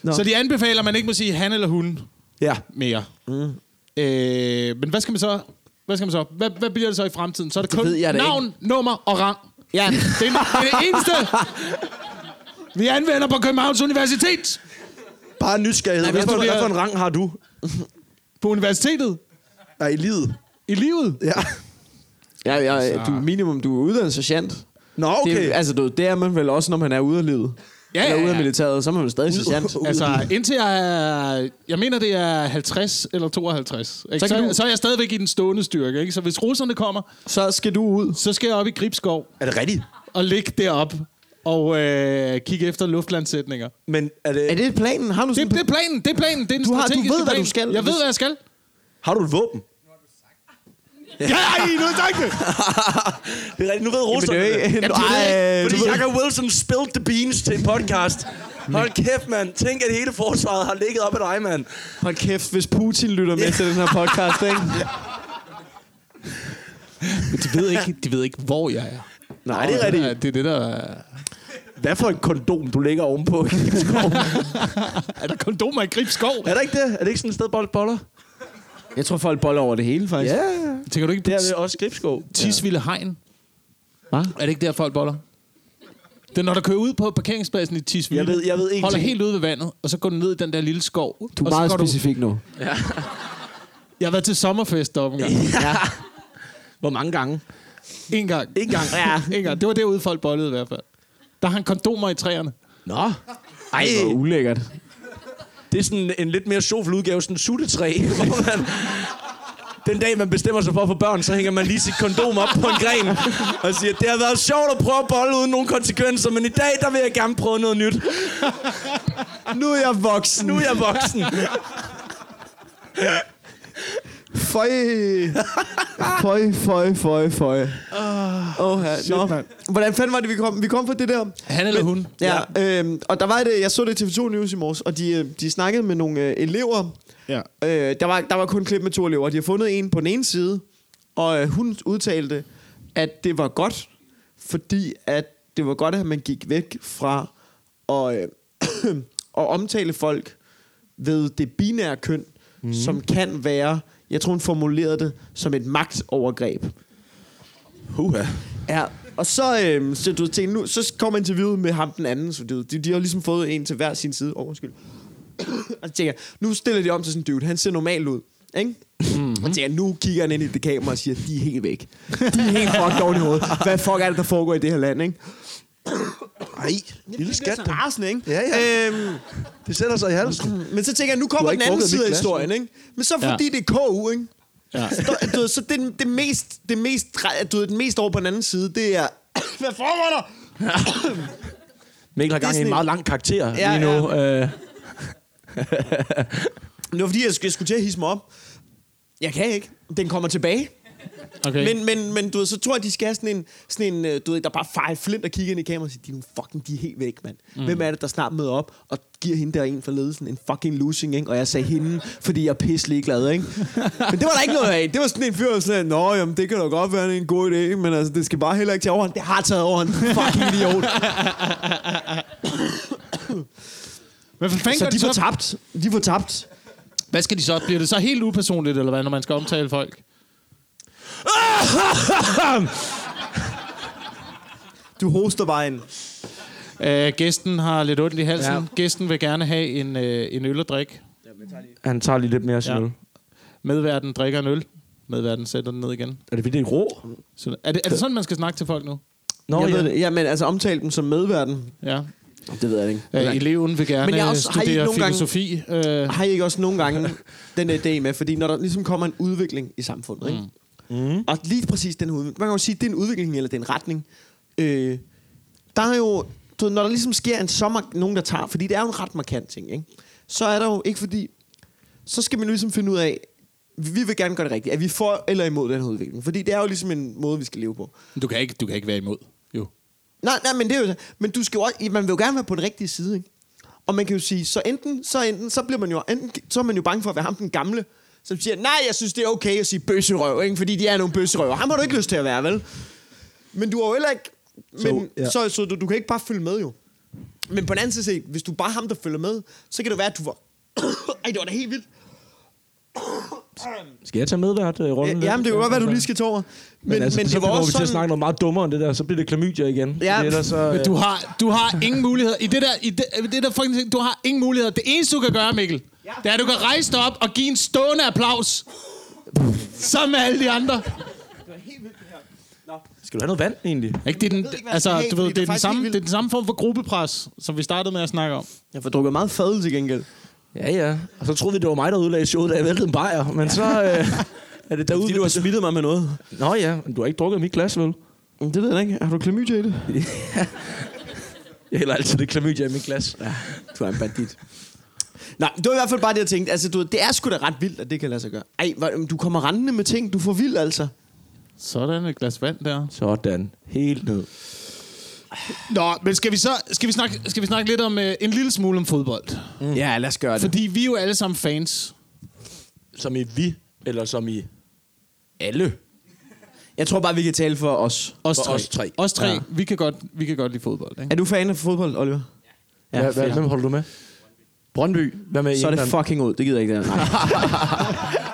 Nå. Så de anbefaler, at man ikke må sige han eller hun ja. mere. Mm. Øh, men hvad skal man så... Hvad skal man så? Hvad, hvad bliver det så i fremtiden? Så er det, kun ved jeg da navn, nummer og rang. Ja, det er det, er det eneste, vi anvender på Københavns Universitet. Bare nysgerrighed. Nej, men Hvad jeg for, tror, det hvad er- for en rang har du? På universitetet. Er i livet? I livet. Ja. Ja, ja, du, minimum, du er uddannet sergeant. Nå, okay. Det, er- altså, du, det er man vel også, når man er ude af livet. Ja, Eller ja, ude af ja. militæret, så er man vel stadig sergeant. Altså, indtil jeg er... Jeg mener, det er 50 eller 52. Ikke? Så, Så kan så, du- så er jeg stadigvæk i den stående styrke. Ikke? Så hvis russerne kommer, Så skal du ud. så skal jeg op i Gribskov Er det rigtigt? og ligge derop og øh, kigge efter luftlandsætninger. Men er det, Er det planen? Har du sådan Det, det er planen. Det er planen. Det er den Du har- du strategiske ved, hvad plan. du skal. Jeg ved, hvad jeg skal. har du et våben? Ja, ej, nu er det ikke. Det er rigtigt. Nu ved Men det russerne er jo ikke... Jamen, det. det ved jeg Nej, Fordi du ved... Jacob Wilson spilled the beans til en podcast. Hold kæft, mand. Tænk, at hele forsvaret har ligget op ad dig, mand. Hold kæft, hvis Putin lytter med til den her podcast, ikke? De ved ikke, de ved ikke, hvor jeg er. Nej, det er rigtigt. Det er det, der... er- Hvad for et kondom, du ligger ovenpå? Er der kondomer i Gribskov? er der ikke det? Er det ikke sådan et sted, bold boller? Jeg tror, folk boller over det hele, faktisk. Ja, Tænker du ikke på det er det også Gribskov. Tisvilde Hegn? Hva? Er det ikke der, folk boller? Det er, når der kører ud på parkeringspladsen i Tisvilde. Jeg ved- jeg ved ingenting. Holder helt ude ved vandet, og så går du ned i den der lille skov. Du og er så meget går specifik nu. Du... Jeg har været til sommerfest deroppe en gang. Ja. Hvor mange gange? En gang. En gang. Ja. en gang. Det var derude, folk bollede i hvert fald. Der hang kondomer i træerne. Nå. Ej, Det var ulækkert. det er sådan en lidt mere sjov udgave, sådan en suttetræ, hvor man... Den dag, man bestemmer sig for at få børn, så hænger man lige sit kondom op på en gren og siger, det har været sjovt at prøve at bolle uden nogen konsekvenser, men i dag, der vil jeg gerne prøve noget nyt. Nu er jeg voksen. Nu er jeg voksen. Føj. Føj, føj, føj, føj. Ah. Åh, her. Nå. Hvordan fanden var det, vi kom? Vi kom fra det der. Han eller hun. Ja, øhm, og der var det, jeg så det i TV2 News i morges, og de, øh, de snakkede med nogle øh, elever. Ja. Øh, der, var, der var kun klip med to elever. De har fundet en på den ene side, og øh, hun udtalte, at det var godt, fordi at det var godt, at man gik væk fra at, øh, at omtale folk ved det binære køn, mm. som kan være, jeg tror hun formulerede det, som et magtovergreb. Huha. Ja, og så, øhm, så, du tænkte, nu, så kom interviewet med ham den anden, så du, de, de har ligesom fået en til hver sin side. Åh, oh, undskyld. og så tænker jeg, nu stiller de om til sådan en dude, han ser normal ud, ikke? Mm-hmm. Og Mhm. så tænker jeg, nu kigger han ind i det kamera og siger, de er helt væk. De er helt fucked oven i hovedet. Hvad fuck er det, der foregår i det her land, ikke? Ej, lille skat. Det er rasende, ikke? Ja, ja. Øhm, Det sætter sig i halsen. men så tænker jeg, nu kommer den ikke anden drukket side mit af glas, historien, ikke? Men så fordi Ja. det er KU, ikke? Ja. Så, der- du ved, så det, det, mest, det, mest, dre- du ved, det mest over på den anden side, det er... Hvad foregår der? Mikkel har Det er gang i sådan en en- meget lang karakter Ja, lige nu. Ja. Øh, Men Det var fordi, jeg skulle, jeg skulle til at hisse mig op. Jeg kan ikke. Den kommer tilbage. Okay. Men, men, men du ved, så tror jeg, de skal have sådan en, sådan en øh, du ved, der bare fejrer flint og kigger ind i kameraet og siger, de er nogle fucking, de er helt væk, mand. Mm. Hvem er det, der snart møder op og giver hende der en for ledelsen en fucking losing, ikke? Og jeg sagde hende, fordi jeg er pisselig glad, ikke? men det var der ikke noget af. Det var sådan en fyr, der sagde, nå, jamen, det kan da godt være det er en god idé, ikke? men altså, det skal bare heller ikke tage overhånd. Det har taget overhånd, fucking idiot. Men hvad, fanden så gør de så? var tabt. De var tabt. hvad skal de så? Bliver det så helt upersonligt, eller hvad, når man skal omtale folk? Du hoster bare en. Øh, gæsten har lidt ondt i halsen. Ja. Ja. Gæsten vil gerne have en, øh, en øl og drik. Han tager lige lidt mere af sin Ja. øl. Medverden drikker en øl. Medverden sætter den ned igen. Er det fordi, det er rå? Så, er, det, er det sådan, man skal snakke til folk nu? Nå, jeg ja. ved det. Ja, men altså omtale dem som medverden. Ja. Det ved jeg ikke. Øh, eleven vil gerne Men Men jeg jeg er også- har I studere ikke nogle gange- Ah, filosofi. Gange... Øh, har I ikke også nogle gange den der idé med, fordi når der ligesom kommer en udvikling i samfundet, ikke? Mm. og lige præcis den her udvikling, man kan jo sige, det er en udvikling eller det er en retning, øh, der er jo, du ved, når der ligesom sker en sommer, nogen der tager, fordi det er jo en ret markant ting, ikke? så er der jo ikke fordi, så skal man jo ligesom finde ud af, vi vil gerne gøre det rigtigt, er vi for eller imod den her udvikling, fordi det er jo ligesom en måde, vi skal leve på. du, kan ikke, du kan ikke være imod, jo. Nej, nej, men det er jo Men du skal jo også, man vil jo gerne være på den rigtige side, ikke? Og man kan jo sige, så enten, så enten, så bliver man jo, enten, så er man jo bange for at være ham den gamle, som siger, nej, jeg synes, det er okay at sige bøsserøv, ikke? Fordi de er nogle bøsserøver. Ham har du ikke lyst til at være, vel? Men du har jo heller ikke... Men, så, ja. ja. så, så du, du kan ikke bare følge med, jo. Men på den anden side set, hvis du bare er ham, der følger med, så kan det være, at du var... Ej, det var da helt vildt. Skal jeg tage medvært øh, Ja, rollen? jamen, det er jo godt, hvad du lige skal tage over. Men, men, altså, men så det var kommer også vi til sådan... at snakke noget meget dummere end det der. Så bliver det klamydia igen. Ja. Fordi ellers, så, øh, Men du har, du har ingen muligheder. I det der, i det, i det der fucking ting, du har ingen muligheder. Det eneste, du kan gøre, Mikkel, ja. det er, at du kan rejse dig op og give en stående applaus. Sammen med alle de andre. Skal du have noget vand, egentlig? Ikke, det er den, ved ikke, hvad jeg skal altså, have, du fordi ved, det det, er er den faktisk samme, helt det vildt. er den samme form for gruppepres, som vi startede med at snakke om. Jeg får drukket meget fadel til gengæld. Ja, ja. Og så troede vi, det var mig, der ødelagde showet, da jeg væltede en bajer. Men så øh, er det derude. Fordi du har smittet mig med noget. Nå ja, Mm, men du har ikke drukket mit glas, vel? Jamen, Det ved jeg da ikke. Har du klamydia i det? Jeg hælder altid det klamydia i mit glas. Ja. Du er en bandit. Nej, det var i hvert fald bare det, jeg tænkte. Altså, du, det er sgu da ret vildt, at det kan lade sig gøre. Ej, hvor- du kommer rendende med ting. Du får vild, altså. Sådan et glas vand der. Sådan. Helt ned. Nå, men skal vi så skal vi snakke, skal vi snakke lidt om øh, en lille smule om fodbold? Mm. Ja, lad os gøre det. Fordi vi er jo alle sammen fans. Som i vi, eller som i alle. Jeg tror bare, vi kan tale for os. Os For tre. os tre. Os tre. Ja. Ja. Vi, kan godt, vi kan godt lide fodbold. Ikke? Er du fan af fodbold, Oliver? Ja, hvad, hvad, fedt. hvem holder du med? Brøndby. Hvad med så er det England? fucking ud. Det gider jeg ikke, det her. Nej.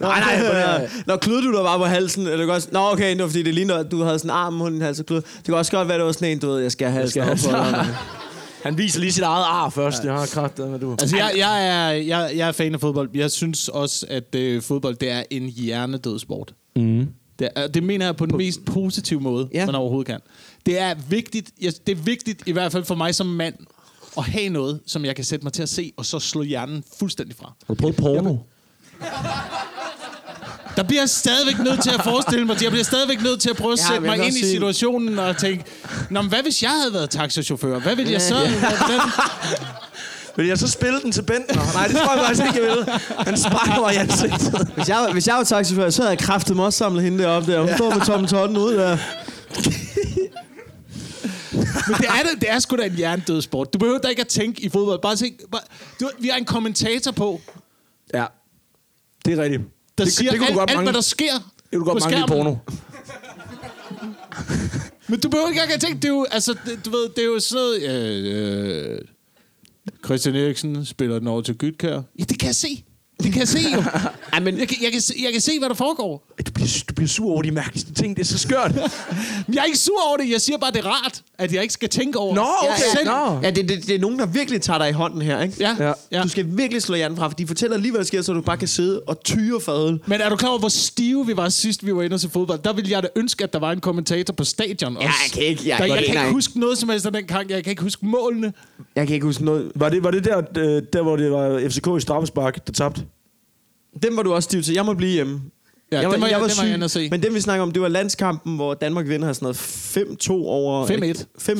Nej, nej, prøv at nej. høre. Nå, klødte du dig bare på halsen? Eller godt, nå, okay, det var fordi, det ligner, at du havde sådan en arm, hun hals og klød. Det kan også godt være, det var sådan en, du ved, jeg skal have halsen op. skal for have dig. Han viser lige sit eget ar først. Ja. Jeg har kraft, med du. Altså, jeg, jeg, er, jeg, jeg er fan af fodbold. Jeg synes også, at øh, fodbold det er en hjernedød sport. Mm. Det, er, det mener jeg på den mest positive måde, Ja. ja. man overhovedet kan. Det er vigtigt, jeg, det er vigtigt i hvert fald for mig som mand, at have noget, som jeg kan sætte mig til at se, og så slå hjernen fuldstændig fra. Har du prøvet porno? Der bliver jeg stadigvæk nødt til at forestille mig det. Jeg bliver stadigvæk nødt til at prøve at Ja, ja, sætte men jeg kan mig ind også i se- situationen og tænke, Nå, men hvad hvis jeg havde været taxachauffør? Hvad ville jeg så? Ja. Hvordan, Vil jeg så spille den til Bent? Nå, nej, det tror jeg faktisk ikke, jeg vil. Han sprang mig i ansigtet. Hvis jeg, hvis jeg var taxichauffør, så havde jeg kraftet mig også samlet hende deroppe der. Hun står med tommen totten ud der. Men det er, da- det er sgu da en hjernedød sport. Du behøver da ikke at tænke i fodbold. Bare tænk, bare, du, ved, vi har en kommentator på, Ja, det er rigtigt. der det, siger det kunne alt, du godt alt, mangle, hvad der sker det kunne du godt på mangle i skærmen. porno. Men du behøver ikke engang at tænke, det er jo, altså, det, du ved, det er jo sådan noget... Øh, øh, Christian Eriksen spiller den over til Gytkær. Ja, det kan jeg se. Det kan jeg se jo. Ej, men jeg, kan, jeg, kan, se- jeg kan se, hvad der foregår. Du bliver, du bliver sur over de mærkeligste ting. Det er så skørt. Men jeg er ikke sur over det. Jeg siger bare, det er rart, at jeg ikke skal tænke over Nå, det. Jeg okay. selv- Nå. Ja, det, det, det er nogen, der virkelig tager dig i hånden her, ikke? Ja, Ja. ja. ja. Du skal virkelig slå hjernen fra, for de fortæller lige, hvad der sker, så du bare kan sidde og tyre fadel. Men er du klar over, hvor stive vi var sidst, vi var inde til fodbold? Der ville jeg da ønske, at der var en kommentator på stadion også. jeg kan ikke- jeg der, kan jeg ikke kan ikke engang- huske noget som helst af den kamp. Jeg kan ikke huske målene. Jeg kan ikke huske noget. Var det, var det der, øh, der, hvor det var FCK i straffespark, der tabte? Den var du også stiv til. Jeg må blive hjemme. Ja, den var jeg- den var jeg syg. inde at se. Men den, vi snakker om, det var landskampen, hvor Danmark vinder sådan noget 5-2 over... 5-1. 5-1.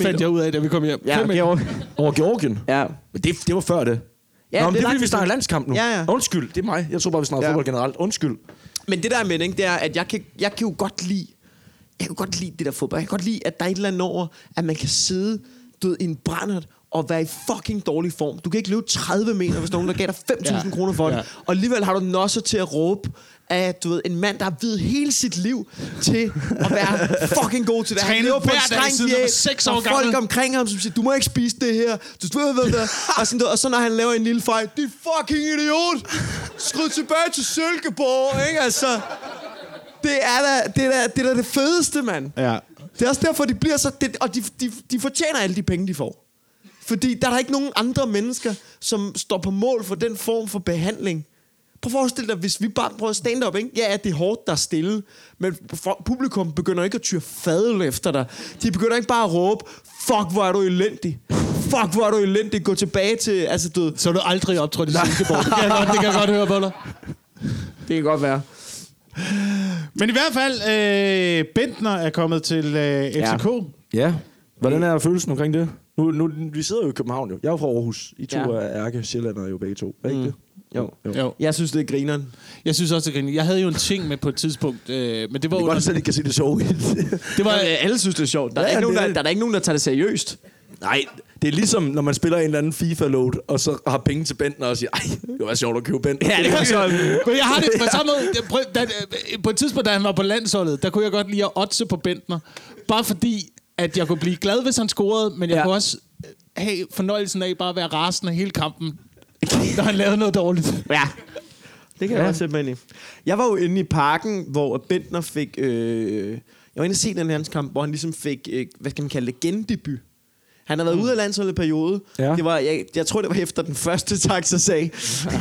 Fandt jeg ud af, da vi kom hjem. Ja, 5-1. okay, over. Over Georgien? ja. Men det, det var før det. Ja, Nå, det er men det, det lang er, vi tid snakker siden. landskamp nu. Ja, ja. Undskyld, det er mig. Jeg tror bare, vi snakker Ja. ja. fodbold generelt. Undskyld. Men det der er med, det, ikke, det er, at jeg kan, jeg kan jo godt lide... Jeg kan godt lide det der fodbold. Jeg kan godt lide, at der er et eller andet over, at man kan sidde du ved, i en brændert og være i fucking dårlig form. Du kan ikke løbe 30 meter, hvis der er nogen, der gav dig 5.000 ja, Ja, kroner for det. ja. Og alligevel har du nosser til at råbe af, du ved, en mand, der har videt hele sit liv til at være fucking god til det. Trænet lever på en hver streng dag siden han var diæt, seks og år folk gammel. omkring ham, som siger, du må ikke spise det her. Du ved, hvad der. Og, sådan, der. og så når han laver en lille fejl, det er fucking idiot. Skrid tilbage til Silkeborg, ikke? Altså, det er da det, er da, det, er da det fedeste, mand. Ja. Det er også derfor, de bliver så... Det, og de, de, de fortjener alle de penge, de får. Fordi der er der ikke nogen andre mennesker, som står på mål for den form for behandling. Prøv at forestille dig, hvis vi bare prøver stand-up, ikke? Ja, det er hårdt, der er stille, men for, publikum begynder ikke at tyre fadel efter dig. De begynder ikke bare at råbe, fuck, hvor er du elendig. Fuck, hvor er du elendig. Gå tilbage til, altså du ved, Så er du aldrig optrådt i Silkeborg. Det kan, jeg godt, det kan jeg godt høre på dig. Det kan godt være. Men i hvert fald, øh, Bentner er kommet til øh, FCK. Ja. Ja. Hvordan er følelsen omkring det? Nu, nu, vi sidder jo i København jo. Jeg er jo fra Aarhus. I to Ja. ja. er ærke sjællandere jo begge to. Er ikke mm. det? Jo. jo. Jo. Jeg synes, det er grineren. Jeg synes også, det er grineren. Jeg havde jo en ting med på et tidspunkt, øh, men det var Det er under, godt, at selv ikke kan se det sjovt. det var, Jamen, alle synes, det er sjovt. Der er, Ja, ikke nogen, der, det er der, det. er der ikke nogen, der tager det seriøst. Nej, det er ligesom, når man spiller en eller anden FIFA-load, og så har penge til Bentner og siger, ej, det var sjovt at købe Bentner. Ja, det kan så... Men jeg har det på samme måde. Jeg prøv- Da, på et tidspunkt, da han var på landsholdet, der kunne jeg godt lide at otse på Bentner. Bare fordi, at jeg kunne blive glad, hvis han scorede, men Ja. jeg ja. kunne også øh, have fornøjelsen af bare at være rasende hele kampen, når han lavede noget dårligt. Ja. Det kan ja. jeg også sætte mig ind i. Jeg var jo inde i parken, hvor Bentner fik... Øh, jeg var inde og se den her hans kamp, hvor han ligesom fik, øh, hvad skal man kalde det, gendebut. Han har været ude af landsholdet i periode. Mm. Ja. Ja. Det var, jeg, jeg tror, det var efter den første taxa-sag.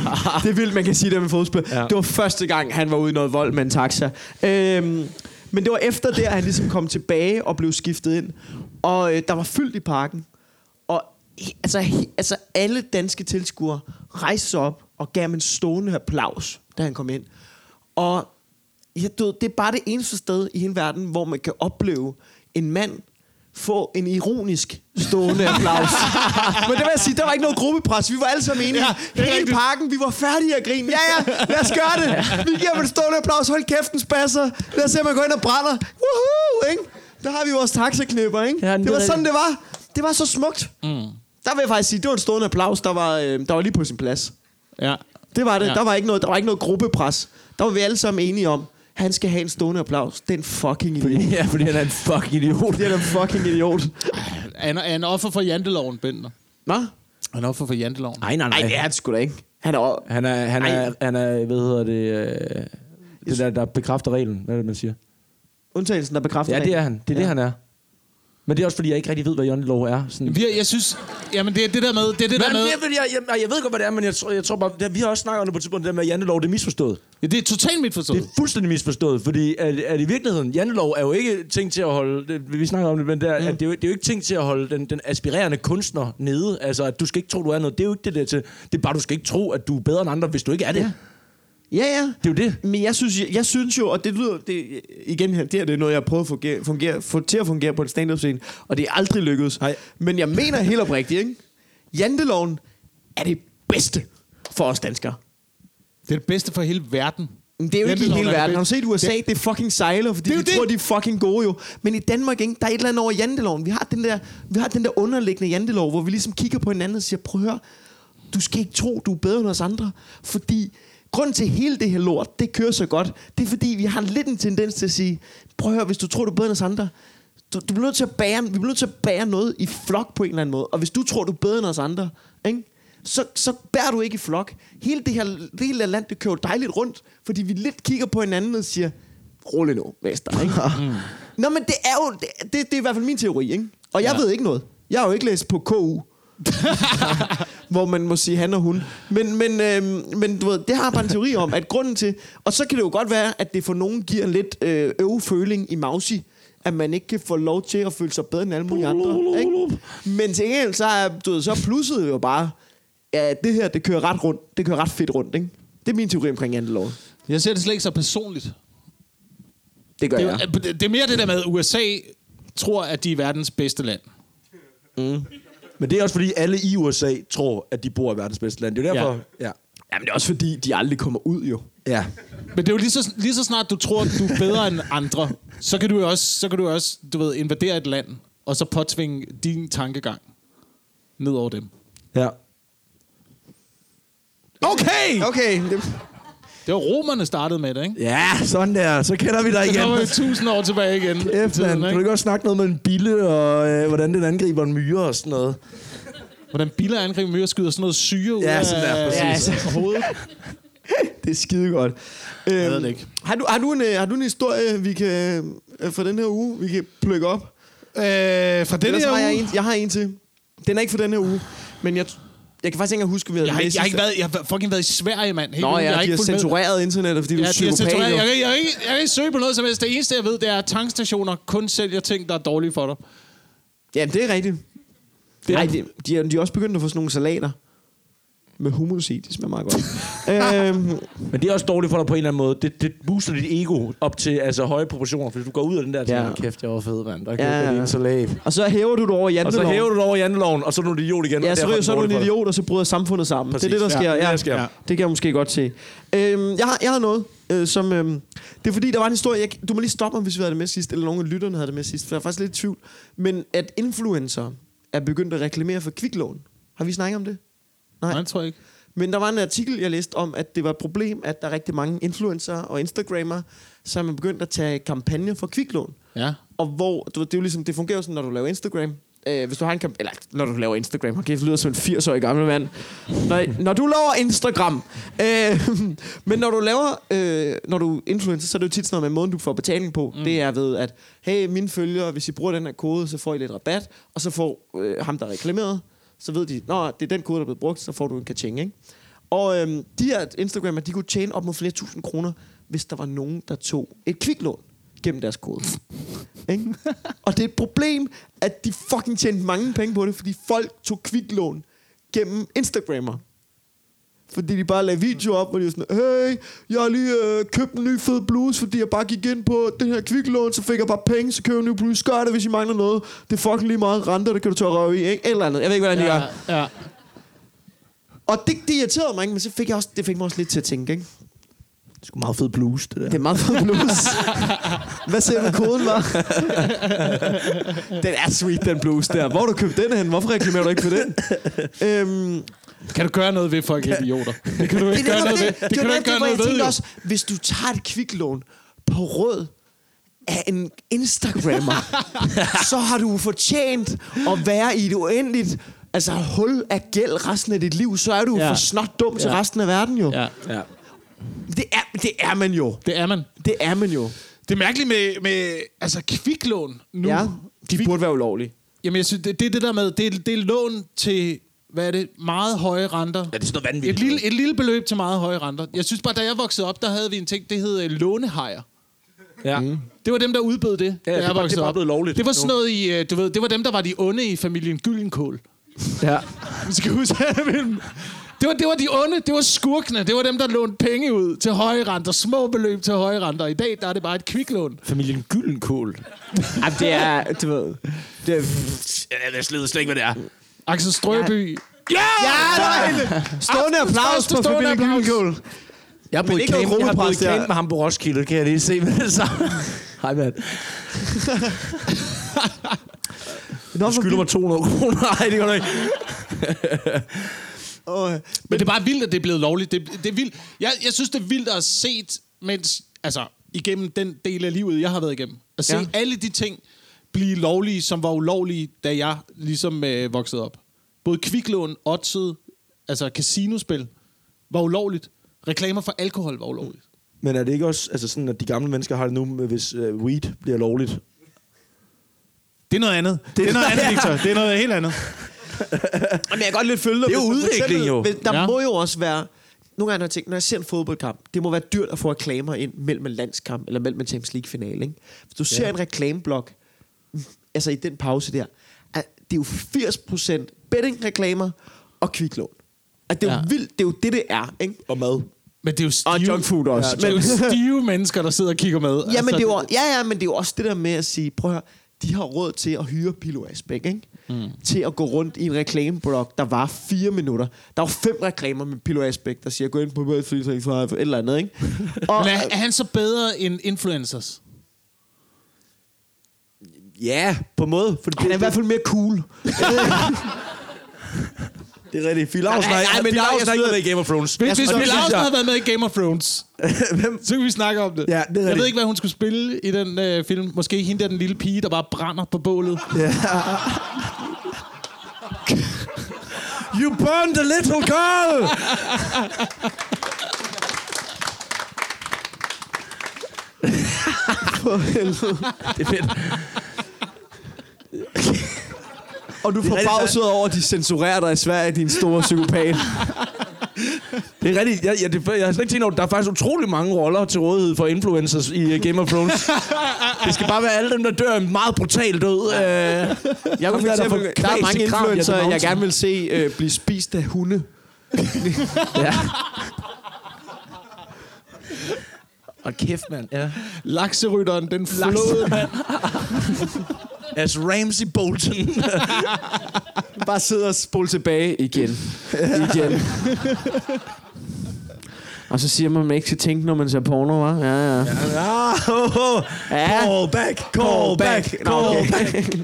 det er vildt, man kan sige det med fodspil. Ja. Ja. Det var første gang, han var ude i noget vold med en taxa. Øhm, men det var efter det, at han ligesom kom tilbage og blev skiftet ind. Og øh, der var fyldt i parken. Og he- altså, he- altså alle danske tilskuere rejste sig op og gav ham en stående applaus, da han kom ind. Og jeg død, det er bare det eneste sted i hele verden, hvor man kan opleve en mand få en ironisk stående applaus. Men det vil jeg sige, der var ikke noget gruppepres. Vi var alle sammen enige. Ja, det er Hele rigtigt. pakken, vi var færdige at grine. Ja, ja, lad os gøre det. Vi giver dem en stående applaus. Hold kæften, spasser. Lad os se, om man går ind og brænder. Woohoo, ikke? Der har vi vores taxaknipper, ikke? Ja, det, det var er sådan, det var. Det var så smukt. Mm. Der vil jeg faktisk sige, det var en stående applaus, der var, øh, der var lige på sin plads. Ja. Det var det. Ja. Ja. Der, var ikke noget, der var ikke noget gruppepres. Der var vi alle sammen enige om, han skal have en stående applaus. Den fucking idiot. Ja, fordi han er en fucking idiot. Det er en fucking idiot. Han, er- han er offer for janteloven, Bentner. Nå? Han er offer for janteloven. Nej, nej, Nej, det er han sgu da ikke. Han er over. Han er, han er, Ej. han er hvad hedder det, øh, det der, der bekræfter reglen, hvad er det, man siger? Undtagelsen, der bekræfter Ja, det er reglen. han. Det er ja. det, han er. Men det er også, fordi jeg ikke rigtig ved, hvad Johnny Lov er. Sådan. Jeg, jeg synes, jamen det er det der med, det er det der Men med, jeg, jeg, jeg, jeg, jeg ved godt, hvad det er, men jeg, tror- jeg tror bare, det, vi har også snakket om det på et tidspunkt, det der med at Jantelov, det er misforstået. Ja, det er totalt mit Det forstået. er fuldstændig misforstået, fordi at, at i virkeligheden, Jantelov er jo ikke ting til at holde, det, vi snakker om det, men det er, mm. at det, er jo, det er jo ikke ting til at holde den, den aspirerende kunstner nede, altså at du skal ikke tro, du er noget, det er jo ikke det der til, det er bare, du skal ikke tro, at du er bedre end andre, hvis du ikke er det. Ja. Ja, ja. Det er jo det. Men jeg synes, jeg, jeg synes jo, og det lyder, det, igen her, det her det er noget, jeg har prøvet at fungere, fungere, få til at fungere på en stand-up scene, og det er aldrig lykkedes. Nej. Men jeg mener helt oprigtigt, ikke? Janteloven er det bedste for os danskere. Det er det bedste for hele verden. Men det er jo ikke i Janteloven hele er det verden. Har du bedste. set USA? Det er fucking sejler, fordi Det det er de jo det. tror, de er fucking gode jo. Men i Danmark, ikke? der er et eller andet over janteloven. Vi har den der, vi har den der underliggende jantelov, hvor vi ligesom kigger på hinanden og siger, prøv at høre, du skal ikke tro, du er bedre end os andre. Fordi grunden til at hele det her lort, det kører så godt, det er fordi, vi har lidt en tendens til at sige, prøv at høre, hvis du tror, du er bedre end os andre, du, du bliver nødt til at bære, vi bliver nødt til at bære noget i flok på en eller anden måde. Og hvis du tror, du er bedre end os andre, ikke? så, så bærer du ikke i flok. Hele det her det hele land, det kører jo dejligt rundt, fordi vi lidt kigger på hinanden og siger, rolig nu, Vester. Ikke? mm. Nå, men det er jo, det, det, det er i hvert fald min teori, ikke? Og jeg ja. ved ikke noget. Jeg har jo ikke læst på KU. hvor man må sige han og hun. Men, men, øh, men du ved, det har jeg bare en teori om, at grunden til... Og så kan det jo godt være, at det for nogen giver en lidt øh, øveføling i Mausi, at man ikke kan få lov til at føle sig bedre end alle mulige andre. Ikke? Men til gengæld, så er du ved, så er plusset jo bare, ja, det her, det kører ret rundt. Det kører ret fedt rundt, ikke? Det er min teori omkring jantelov. Jeg ser det slet ikke så personligt. Det gør Det, jeg. er, det det er mere det der med, at USA tror, at de er verdens bedste land. Men det er også fordi, alle i USA tror, at de bor i verdens bedste land. Det er jo derfor... Ja. Jamen, det er også fordi, de aldrig kommer ud, jo. Ja. Men det er jo lige så, lige så snart, du tror, at du er bedre end andre, så kan du jo også, så kan du jo også du ved, invadere et land, og så påtvinge din tankegang ned over dem. ja. Okay! Okay. Det... Det var romerne startede med det, ikke? Ja, sådan der. Så kender vi dig Så var vi igen. tusind år tilbage igen. i Efter, tiden, kan du ikke? ikke også snakke noget med en bille, og øh, hvordan den angriber en myre og sådan noget? Hvordan biler angriber myrer skyder sådan noget syre ud Ja, altså. af Øh, sådan der, af præcis. hovedet. det er skide godt. Øhm, ved det ikke. Har du, har, du en, øh, har du en historie, vi kan, øh, fra den her uge, vi kan plukke op? Øh, fra den Ellers her har uge... jeg, en, jeg har en til. Den er ikke for den her uge, men jeg, jeg kan faktisk ikke engang huske, om vi havde Jeg har, den ikke, sidste. jeg, har ikke været, jeg har fucking været i Sverige, mand. Helt Nå ugen. ja, jeg de ikke har fulgt med. censureret internettet, fordi du Ja, er de har psykopat. censureret. jo. Jeg, kan, jeg, kan ikke, jeg kan ikke søge på noget som helst. Det eneste, jeg ved, det er, at tankstationer kun sælger ting, der er dårlige for dig. Ja, det er rigtigt. Det er, Ej, de, de, er, de er også begyndt at få sådan nogle salater med hummus i. Det smager meget godt. øhm, Men det er også dårligt for dig på en eller anden måde. Det, det booster dit ego op til altså, høje proportioner, fordi du går ud af den der Ja. "Nå, kæft, jeg var fed, mand. Der Ja. ja. lige en salat. og så hæver du det over Og så janteloven. hæver du det over janteloven, og så er du en idiot igen. Ja, og så, derfor ryger- så er du en dårligt for dig. idiot, og så bryder samfundet sammen. Præcis. Det er det, der Ja, sker. det Ja, er det, der sker. Ja. Det kan jeg måske godt se. Øhm, jeg, har, jeg har noget, øh, som... Øh, det er fordi, der var en historie... Jeg, du må lige stoppe mig, hvis vi havde det med sidst, eller nogen af lytterne havde det med sidst, for jeg er faktisk lidt i tvivl. Men at influencer er begyndt at reklamere for kviklån. Har vi snakket om det? Nej. Nej, det tror jeg ikke. Men der var en artikel, jeg læste om, at det var et problem, at der er rigtig mange influencer og instagrammer, som er begyndt at tage kampagne for kviklån. Ja. Og hvor, du, ved, det, er jo ligesom, det fungerer jo sådan, når du laver Instagram. Øh, hvis du har en kamp... Eller, når du laver Instagram. Okay, det lyder som en 80-årig gammel mand. Når, når du laver Instagram. Øh, men når du laver... Øh, når du er influencer, så er det jo tit sådan noget med måden, du får betaling på. Mm. Det er ved, at hey, mine følgere, hvis I bruger den her kode, så får I lidt rabat. Og så får øh, ham, der er reklameret, så ved de, når det er den kode, der er blevet brugt, så får du en kaching, ikke? Og øhm, de her Instagrammer, de kunne tjene op mod flere tusind kroner, hvis der var nogen, der tog et kviklån gennem deres kode. Ikke? Og det er et problem, at de fucking tjente mange penge på det, fordi folk tog kviklån gennem Instagrammer. Fordi de bare lagde videoer op, hvor de var sådan, hey, jeg har lige øh, købt en ny fed bluse, fordi jeg bare gik ind på den her kviklån, så fik jeg bare penge, så køber jeg en ny bluse. Gør det, hvis I mangler noget. Det er fucking lige meget renter, det kan du tørre røve i, ikke? Et Eller andet. Jeg ved ikke, hvordan de gør. ja. ja. Og det, det irriterede mig, ikke? men så fik jeg også, det fik mig også lidt til at tænke, ikke? Det er sgu meget fed blues, det der. Det er meget fed blues. Hvad ser du, koden var? den er sweet, den blues der. Hvor har du købt den hen? Hvorfor reklamerer du ikke for den? øhm, Kan du gøre noget ved, folk er idioter? Det kan du det, ikke gøre noget ved. det, det, det, kan du var ikke gøre hvor jeg noget ved, tænkte jo. også, hvis du tager et kviklån på råd af en Instagrammer, så har du fortjent at være i et uendeligt altså, hul af gæld resten af dit liv. Så er du ja. Ja. for snot dum ja. til Ja. resten af verden jo. Ja. Ja, Ja. Det, er, det er man jo. det er man. Det er man jo. Det er mærkeligt med, med altså, kviklån nu. Ja, de Kvik- burde være ulovlige. Jamen, jeg synes, det, det er det der med, det er, det er lån til, hvad er det, meget høje renter. Ja, det er sådan noget Et vanvittigt. lille, et lille beløb til meget høje renter. Jeg synes bare, da jeg voksede op, der havde vi en ting, det hed øh, lånehajer. Ja. Mm. Det var dem, der udbød det, da det er jeg bare- voksede det er bare op. blevet lovligt Det var nu. sådan noget i, øh, du ved, det var dem, der var de onde i familien Gyllenkål. Ja. Du skal huske, at jeg ville- det var, det var de onde, det var skurkene, det var dem, der lånte penge ud til høje renter, små beløb til høje renter. I dag, der er det bare et kviklån. Familien Gyldenkål. Jamen, det er, du ved... Det er, Ja, jeg slet ikke, hvad det er. Axel Strøby. Ja! ja, nej! Stående applaus første på stående familien applaus. Gyldendal. Jeg har boet i ikke noget camp, jeg har boet i gruppepres der. camp med ham på Roskilde, kan jeg lige se med det samme. Hej, mand. Nå, Du skylder mig 200 kroner. Nej, det gør du ikke. Åh, Men det er bare vildt, at det er blevet lovligt. Det, det er vildt. Jeg, jeg synes, det er vildt at have set, mens, altså, igennem den del af livet, jeg har været igennem. At se Ja. ja. alle de ting blive lovlige, som var ulovlige, da jeg ligesom øh, voksede op. Både kviklån, oddset, altså casinospil, var ulovligt. Reklamer for alkohol var ulovligt. Men er det ikke også altså sådan, at de gamle mennesker har det nu, med, hvis øh, weed bliver lovligt? Det er noget andet. Det er noget andet, Victor. Det er noget helt andet. Men jeg kan godt lidt følge dig. Det er jo Hvis man for udvikling, eksempel- jo. hvis- Der ja. Ja. må jo også være... Nogle gange har jeg tænkt, når jeg ser en fodboldkamp, det må være dyrt at få reklamer ind mellem en landskamp eller mellem en Champions League-finale. Ikke? Hvis du ser en reklameblok, altså i den pause der, at det er jo 80% betting-reklamer og kviklån. At det er jo Ja. vildt, det er jo det, det er. Ikke? Og mad. Men det er jo stive, food også. Ja, det er jo stive mennesker, der sidder og kigger med. Altså, Ja, men det er jo, ja, ja, men det er jo også det der med at sige, prøv at høre, de har råd til at hyre Pilo Asbæk, ikke? Mm. Til at gå rundt i en reklameblok, der var fire minutter. Der var fem reklamer med Pilo Asbæk, der siger, gå ind på Bird 335, et eller andet, ikke? Og, Men er, er han så bedre end influencers? Ja, på en måde. For han er i hvert fald mere cool. Det er rigtigt. Filaus, nej, nej, men Filaus er ikke med i Game of Thrones. Hvis, hvis Og det Pelle synes Lausen jeg- havde været med i Game of Thrones, Hvem? så kan vi snakke om det. Ja, det er jeg rigtigt. ved ikke, hvad hun skulle spille i den øh, film. Måske hende der, den lille pige, der bare brænder på bålet. You burned the little girl! For helvede. Det er fedt. Og du er er rigtig forbavset over, at de censurerer dig i Sverige, din store psykopat. Det er rigtigt. Jeg, jeg, det, jeg har slet ikke tænkt over, det. der er faktisk utrolig mange roller til rådighed for influencers i uh, Game of Thrones. det skal bare være alle dem, der dør en meget brutal død. Uh, jeg Jeg kunne for eksempel, der er mange influencer, jeg gerne vil se øh, blive spist af hunde. Ja. Og kæft, mand. Ja. Lakserytteren, den flåede. As Ramsey Bolton. Bare sidde og spole tilbage igen. igen. Og så siger man, at man ikke skal tænke, når man ser porno, hva'? Ja, ja. ah, oh, oh. Ja. Call back, call back, call Nå, okay. back.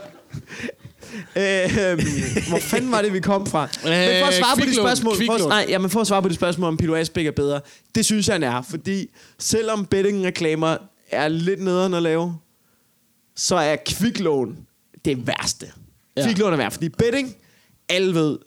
Øhm, hvor fanden var det, vi kom fra? Men for at svare på de Øh, kviklån, spørgsmål, for, at- kviklån. nej, jamen for at svare på de spørgsmål, om Pilo Asbæk er bedre, det synes jeg, han er. Fordi selvom bettingreklamer er lidt nederen at lave, så er kviklån det værste. Ja. Ja. Kviklån er værd, fordi betting, alle ved,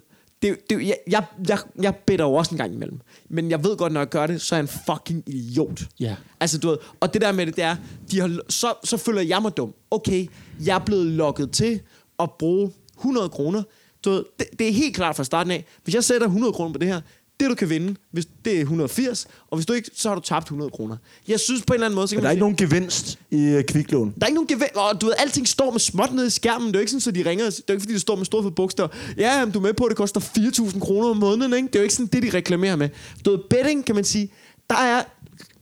det, det, jeg, jeg, jeg, jeg better jo også en gang imellem. Men jeg ved godt, når jeg gør det, så er jeg en fucking idiot. Ja. Altså, du ved, og det der med det, det er, de har, så, så føler jeg mig dum. Okay, jeg er blevet lokket til at bruge 100 kroner. Du ved, det, det er helt klart fra starten af. Hvis jeg sætter 100 kroner på det her, det du kan vinde, hvis det er 180, og hvis du ikke, så har du tabt 100 kroner. Jeg synes på en eller anden måde, så kan Der er man ikke sige- nogen gevinst i uh, kviklån. der er ikke nogen gevind, og du ved, alting står med småt nede i skærmen. Det er jo ikke sådan, så de ringer, og siger- det er jo ikke, fordi det står med store fede bogstaver. Ja, jamen, du er med på, at det koster 4.000 kroner om måneden, ikke? Det er jo ikke sådan, det de reklamerer med. Du ved, betting, kan man sige, der er,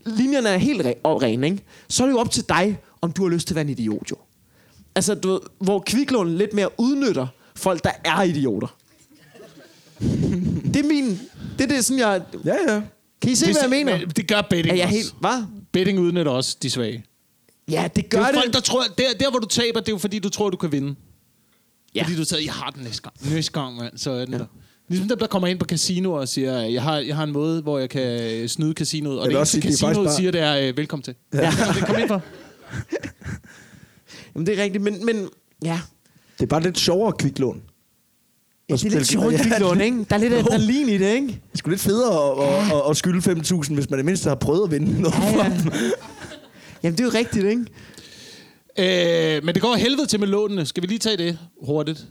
linjerne er helt re- og rene, ikke? Så er det jo op til dig, om du har lyst til at være en idiot, jo. Altså, du ved, hvor kviklån lidt mere udnytter folk, der er idioter. det er min, det er det, sådan jeg, Ja, ja. kan I se, hvad jeg mener? Men Det gør betting Er jeg også. helt, hvad? Betting udnytter også de svage. Ja, det gør Det er det. jo folk, der tror, der, der hvor du taber, det er jo fordi, du tror, du kan vinde. Ja. Ja. Fordi du sagde, jeg har den næste gang. Næste gang, mand, så er den ja. der. Ligesom dem, der kommer ind på casinoer og siger, jeg har, jeg har en måde, hvor jeg kan øh, snyde casinoet. Og Jeg vil det også eneste sige, det er casinoet faktisk siger, det er, øh, velkommen til. Ja. Ja. Det kom ind for. Jamen, det er rigtigt, men, men ja, Det er bare lidt sjovere kviklån. Ja, det er lidt sjovt, Kviklund, ikke? Der er lidt adrenalin i det, ikke? Det er sgu lidt federe at, at, at, at skylde 5.000, hvis man det mindste har prøvet at vinde noget. Ja, Ja, ja. Jamen, det er jo rigtigt, ikke? Øh, men det går helvede til med lånene. Skal vi lige tage det hurtigt?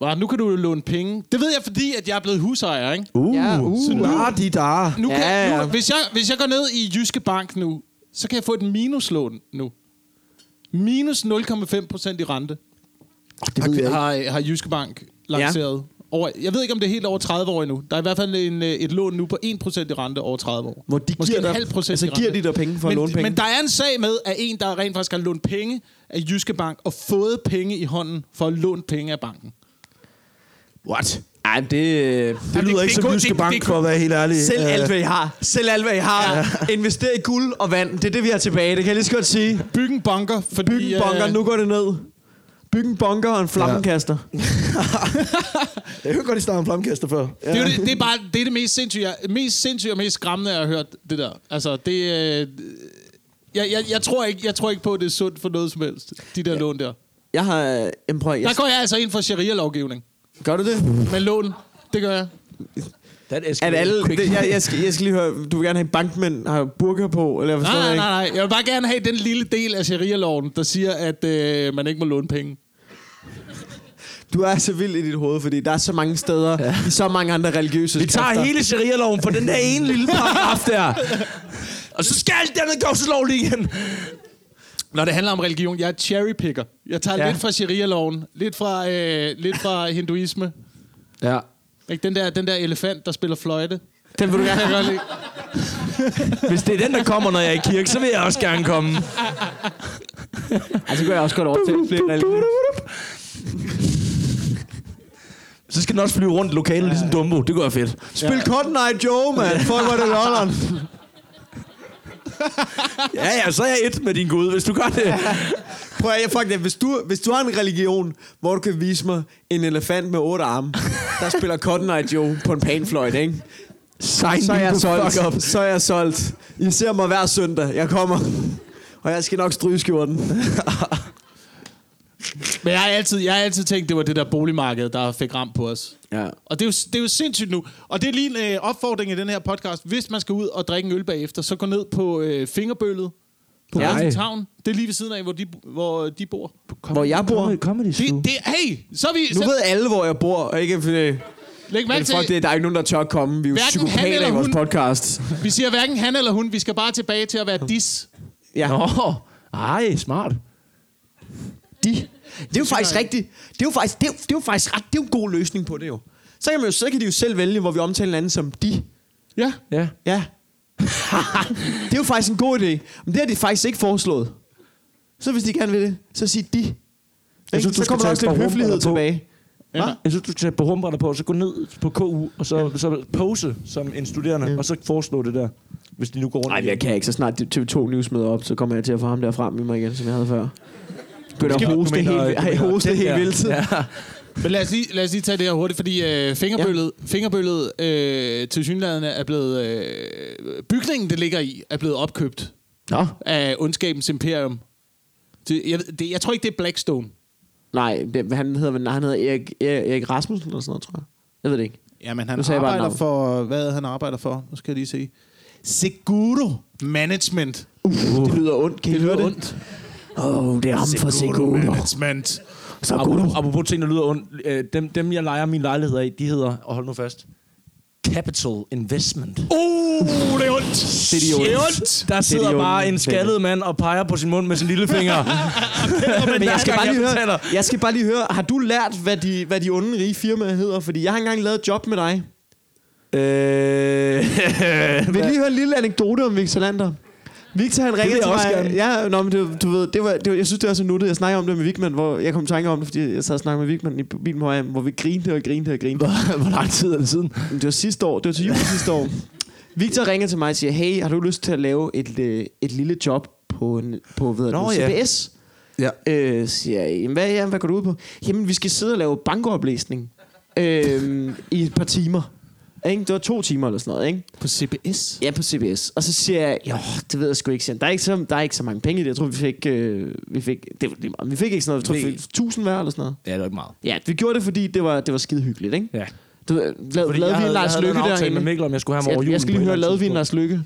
Var, nu kan du jo låne penge. Det ved jeg, fordi at jeg er blevet husejer, ikke? Uh, Ja, uh. så nu er de der. Nu kan, Ja, ja. Nu, hvis, jeg, hvis jeg går ned i Jyske Bank nu, så kan jeg få et minuslån nu. Minus 0,5 procent i rente Det ved jeg ikke. har, har Jyske Bank lanceret. Ja. Over, jeg ved ikke, om det er helt over 30 år endnu. Der er i hvert fald en, øh, et lån nu på 1 procent i rente over 30 år. Hvor de Måske giver en dig- halv procent altså, i rente. giver de dig penge for at men, låne penge? Men der er en sag med, at en, der rent faktisk har lånt penge af Jyske Bank og fået penge i hånden for at låne penge af banken. What? Ej, men det... Det lyder det- ikke det som går- Jyske det- Bank, det går- for at være helt ærlig. Selv Øh, alt, hvad I har. Selv alt, hvad I har. Ja. Invester i guld og vand. Det er det, vi har tilbage. Det kan jeg lige så godt sige. Byg en bunker, fordi... Byg en bunker, øh, nu går det ned. Byg en bunker og en flammenkaster. Ja. Jeg hørte godt, I snakkede om flammekaster før. Det, er jo det, det er bare det, er det mest, sindssyge, jeg- mest sindssyge og mest skræmmende, jeg har hørt det der. Altså, det... Øh, jeg, jeg, jeg, tror ikke, jeg tror ikke på, at det er sundt for noget som helst, de der ja. lån der. Jeg har... Jamen, prøv, at- Der jeg, går jeg altså ind for sharia-lovgivning. gør du det? Med lån, det gør jeg. At alle... Det, jeg, jeg, skal, jeg skal lige høre... Du vil gerne have en bankmænd, har burka på, eller jeg forstår Nej, det nej, ikke? nej, nej. Jeg vil bare gerne have den lille del af sharia-loven, der siger, at øh, man ikke må låne penge. Du er så vild i dit hoved, fordi der er så mange steder, ja. i så mange andre religiøse Vi tager hele sharia-loven for den der ene lille paragraf der. Og så skal alt det andet gøres ulovligt igen. Når det handler om religion, jeg er cherrypicker. Jeg tager Ja. ja. lidt fra sharia-loven, lidt fra, øh, lidt fra hinduisme. Ja. Ikke? Den, der, den der elefant, der spiller fløjte. Den vil du Jeg gerne kan godt lide. Hvis det er den, der kommer, når jeg er i kirke, så vil jeg også gerne komme. Altså, så går jeg også godt over til flere religiøse. Så skal den også flyve rundt i lokalet, ligesom Dumbo. Det går fedt. Spil Cotton Eye Joe, mand. Fuck, hvor er det lolleren. Ja, ja, så er jeg et med din Gud, hvis du gør det. Prøv at, fuck det. Hvis du, hvis du har en religion, hvor du kan vise mig en elefant med otte arme, der spiller Cotton Eye Joe på en panfløjt, ikke? Sign Så er jeg the fuck up. solgt. Så er jeg solgt. I ser mig hver søndag. Jeg kommer. Og jeg skal nok stryge skjorten. Men jeg har altid, jeg har altid tænkt, det var det der boligmarked, der fik ramt på os. Ja. Og det er, jo, det er jo sindssygt nu. Og det er lige en øh, opfordring i den her podcast. Hvis man skal ud og drikke en øl bagefter, så gå ned på øh, fingerbøllet På Ja. ja. Havn. Det er lige ved siden af, hvor de, hvor øh, de bor. Hvor jeg bor. Comedy, comedy Zoo. Det, det, hey, så er vi... Nu Så, ved alle, hvor jeg bor, og ikke... Øh, læg men mærke til, fuck det, der er ikke nogen, der tør at komme. Vi er jo altså, Hverken han psykopater eller i vores hun. podcast. vi siger hverken han eller hun. Vi skal bare tilbage til at være dis. Ja. Nå, ej, smart. de. Det er jo faktisk rigtigt. Det er jo faktisk, det er, jo- det er jo faktisk ret, det er jo en god løsning på det jo. Så kan, man jo, så kan de jo selv vælge, hvor vi omtaler hinanden som de. Ja. Ja. Ja. det er jo faktisk en god idé. Men det har de faktisk ikke foreslået. Så hvis de gerne vil det, så sig de. Jeg synes, du så skal kommer der tage også et lidt par høflighed rumbriller på. tilbage. Hva? Jeg synes, du skal tage på humbrætter på, og så gå ned på KU, og så, Ja. så pose som en studerende, og så foreslå det der, hvis de nu går rundt. Nej, igen. jeg kan ikke. Så snart TV2 News møder op, så kommer jeg til at få ham der frem i mig igen, som jeg havde før. Begynder at hoste helt, ej, hoste helt vildt. Ja. Men lad os, lige, lad os lige tage det her hurtigt, fordi øh, fingerbøllet, ja. fingerbøllet øh, til synlædende er blevet... Øh, bygningen, det ligger i, er blevet opkøbt Nå, af ondskabens imperium. Det, jeg, ved- det, jeg tror ikke, det er Blackstone. nej, det, han hedder, nej, han hedder Erik, Erik, Erik Rasmussen eller sådan noget, tror jeg. Jeg ved det ikke. Jamen, Nu han sagde jeg bare et arbejder navn. for... Hvad han arbejder for? Nu skal jeg lige se. Seguro Management. Uh, det lyder ondt. Kan I høre det? Åh, oh, det er ham fra Seguro. Management. Seguro. Apropos, apropos ting, der lyder ondt. øh, Dem, dem, jeg leger min lejlighed af, de hedder, og hold nu fast, Capital Investment. Uh, Uh, det er ondt. Det er de ondt. Der er sidder de bare onde en skaldet mand og peger på sin mund med sin lillefinger. Men jeg skal, hver bare lige gang jeg høre, betaler. jeg skal bare lige høre, har du lært, hvad de, hvad de onde rige firmaer hedder? Fordi jeg har engang lavet et job med dig. Øh, Vil I lige høre en lille anekdote om Victor Lander? Victor han ringede vil til jeg mig. også Ja, nå, men det, du ved, det var, det var, jeg synes, det var så nuttet. Jeg snakkede om det med Vigman, hvor jeg kom i tanke om det, fordi jeg sad og snakkede med Vigman i bilen på vej hjem, hvor vi grinte og grinte og grinte. Hvor lang tid er det siden? Men Det var sidste år. Det var til jul sidste år. Victor ringer til mig og siger, hey, har du lyst til at lave et, øh, et lille job på, en, på hvad Nå, Nå, det, ja. CBS? Ja. Øh, siger jeg, jamen, hvad, ja, hvad går du ud på? Jamen, vi skal sidde og lave bankooplæsning øh, i et par timer. Ikke? Det var to timer eller sådan noget, ikke? På CBS. Ja, på CBS. Og så siger jeg, jo, det ved jeg sgu ikke. Siger han, Der er ikke så, der er ikke så mange penge i det. Jeg tror, vi fik, øh, vi fik, det var lige meget. Vi fik ikke sådan noget. Jeg tror, vi fik 1000 hver eller sådan noget. ja, det er ikke meget. Ja, vi gjorde det, fordi det var, det var skide hyggeligt, ikke? Ja. Du, ved, lav, Fordi lavede jeg vi en havde, jeg Lars havde lavet Lykke en aftale derinde? med Mikkel, om jeg skulle have ham over Jeg, julen. jeg skal lige på et høre, eller lavede andet vi en tidspunkt. Lars Lykke?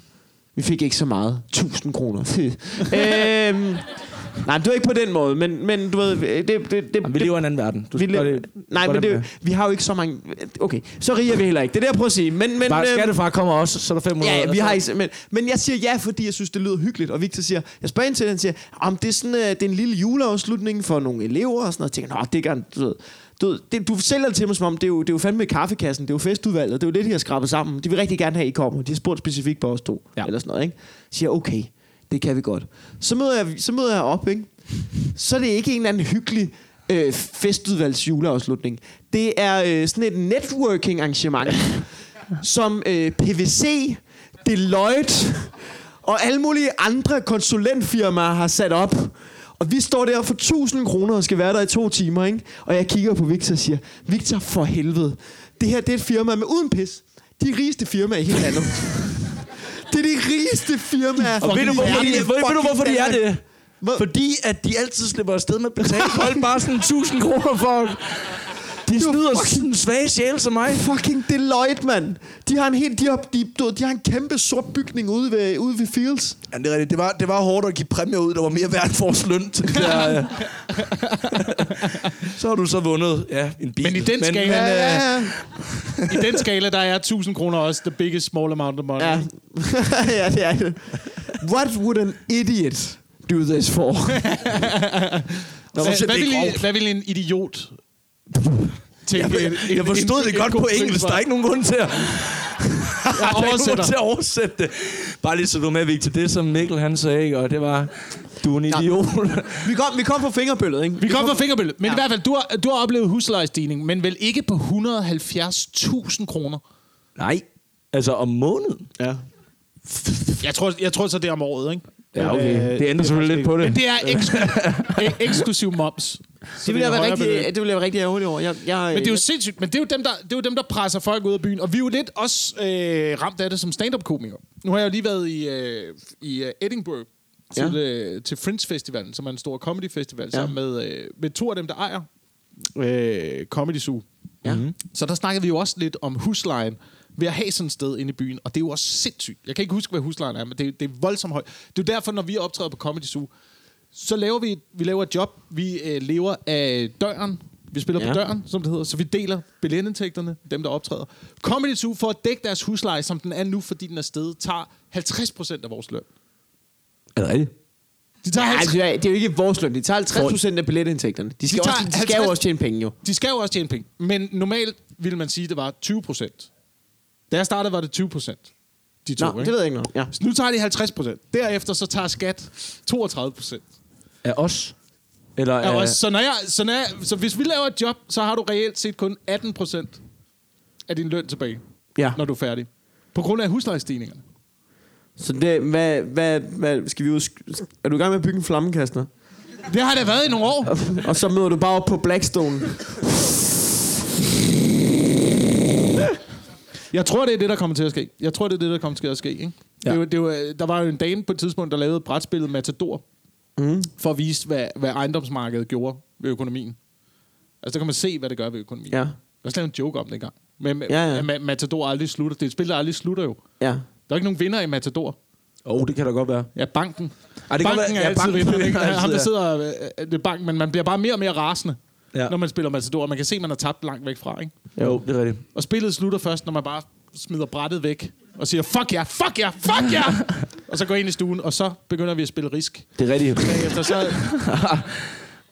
Vi fik ikke så meget. 1000 kroner. øhm, nej, men det var ikke på den måde, men, men du ved, øh, det... det, det Jamen, vi det- lever i en anden verden. Du vi skal lever- gøre det- nej, gøre men det det, vi har jo ikke så mange... Okay, så riger vi heller ikke. Det er det, jeg prøver at sige. Men, men, med. Bare øhm, skattefar kommer også, så er der 500. Ja, ja, vi altså. har ikke, men, men jeg siger ja, fordi jeg synes, det lyder hyggeligt. Og Victor siger, jeg spørger ind til, det, han siger, om det er, sådan, øh, det er en lille juleafslutning for nogle elever og sådan noget. Jeg tænker, nå, det gør du ved, du, ved, det, du sælger det til mig, som om det er, jo, det er jo fandme kaffekassen, det er jo festudvalget, det er jo det, de har skrabet sammen. De vil rigtig gerne have, at I kommer. De har spurgt specifikt på os to, ja. Ja. eller sådan noget, ikke? Jeg siger, okay, det kan vi godt. Så møder jeg, så møder jeg op, ikke? så er det ikke en eller anden hyggelig øh, festudvalgs juleafslutning. Det er øh, sådan et networking arrangement, som øh, PVC, Deloitte og alle mulige andre konsulentfirmaer har sat op. Og vi står der for 1000 kroner og skal være der i to timer, ikke? Og jeg kigger på Victor og siger, Victor, for helvede. Det her, det er et firma med uden pis. De rigeste firmaer i hele landet. det er de rigeste firmaer. Og ved du, hvorfor, de, i ved, ved du, hvorfor de er fucking det? Hvor- Fordi at de altid slipper afsted med at betale folk bare sådan 1000 kroner for... De snyder sådan en svag sjæl som mig. fucking Deloitte, mand. De har en helt, de har, de, du ved, de har en kæmpe sort bygning ude ved, ude ved Fields. Ja, det er rigtigt. Det var, det var hårdt at give præmier ud, der var mere værd end vores løn. tænker jeg. så har du så vundet ja, en bil. Men i den skala- men, øh, ja. I den skala, der er 1000 kroner også the biggest small amount of money. Ja. ja, det er det. What would an idiot do this for? var Hvad, simpelthen hvad, ikke ville, grovt. hvad ville en idiot tænke? Jeg, jeg forstod det godt på engelsk. Der er ikke nogen grund til at... Der er ikke nogen grund oversætter. til at oversætte det. Bare lige så du er med, Victor. Det som Mikkel han sagde, ikke? og det var... Du er en idiot. vi, kom, vi kom på fingerbøllet, ikke? Vi kommer fra fingerbølle. Men ja. i hvert fald, du har, du har oplevet huslejestigning, men vel ikke på 170.000 kroner. Nej. Altså om måneden. Ja. Jeg tror, jeg tror så, det er om året, ikke? Ja, okay. øh, Det ændrer selvfølgelig lidt på det. Men det er eksklu- øh, eksklusiv moms. Det ville jeg være rigtig, det ville jeg være rigtig ærgerlig over. Jeg, jeg, Men det er jo sindssygt. Men det er jo dem, der, det er jo dem, der presser folk ud af byen. Og vi er jo lidt også øh, ramt af det som stand-up-komikere. Nu har jeg jo lige været i, øh, i øh, Edinburgh til, Ja. øh, til Fringe Festivalen, som er en stor comedy-festival, Ja. sammen med, øh, med to af dem, der ejer øh, Comedy Zoo. Mhm. Ja. Så der snakkede vi jo også lidt om huslejen. ved at have sådan et sted inde i byen. Og det er jo også sindssygt. Jeg kan ikke huske, hvad huslejen er, men det, det er voldsomt højt. Det er jo derfor, når vi optræder på Comedy Zoo, så laver vi, vi laver et job. Vi øh, lever af døren. Vi spiller ja. Ja. på døren, som det hedder. Så vi deler billetindtægterne, dem der optræder. Comedy Zoo for at dække deres husleje, som den er nu, fordi den er stedet, tager 50 procent af vores løn. Er det rigtigt? De tager, Ej, 50, det, er, det er jo ikke vores løn. De tager 50 procent af billetindtægterne. De skal, de, De tager også, de skal jo 50 også tjene penge, jo. de skal jo også tjene penge. Men normalt ville man sige, at det var 20 procent. Da jeg startede, var det 20 procent. De to, Nå, ikke? det ved jeg ikke noget. Ja. Så nu tager de 50 procent. Derefter så tager skat 32 procent. Af os? Eller Øh. af... Ja. Så, når jeg, så, når jeg, så hvis vi laver et job, så har du reelt set kun 18 procent af din løn tilbage, ja. når du er færdig. På grund af huslejestigninger. Så det, hvad, hvad, hvad, skal vi ud... Er du i gang med at bygge en flammekaster? Det har det været i nogle år. Og så møder du bare op på Blackstone. Jeg tror, det er det, der kommer til at ske. Jeg tror, det er det, der kommer til at ske. Ikke? Ja. Ja. Det var, det var, der var jo en dame på et tidspunkt, der lavede et brætspillet Matador, mm. for at vise, hvad, hvad ejendomsmarkedet gjorde ved økonomien. Altså, der kan man se, hvad det gør ved økonomien. Ja. Der er slet en joke om det engang. Men Ja, ja, ja. ja. Ma- Matador aldrig slutter. Det er et spil, der aldrig slutter jo. Ja. Der er ikke nogen vinder i Matador. Åh, oh, det kan da godt være. Ja, banken. Ej, det kan banken godt være- er ja, altid banken Altså- vinderen. vinder ikke? altid, Ham, der ja. sidder øh, øh, det er banken, men man bliver bare mere og mere rasende, ja. Ja. når man spiller Matador. Man kan se, at man er tabt langt væk fra. Ikke? Jo, det er rigtigt. Og spillet slutter først, når man bare smider brættet væk og siger, fuck jer, fuck jer, fuck jer! og så går ind i stuen, og så begynder vi at spille risk. Det er rigtigt. Bagefter så,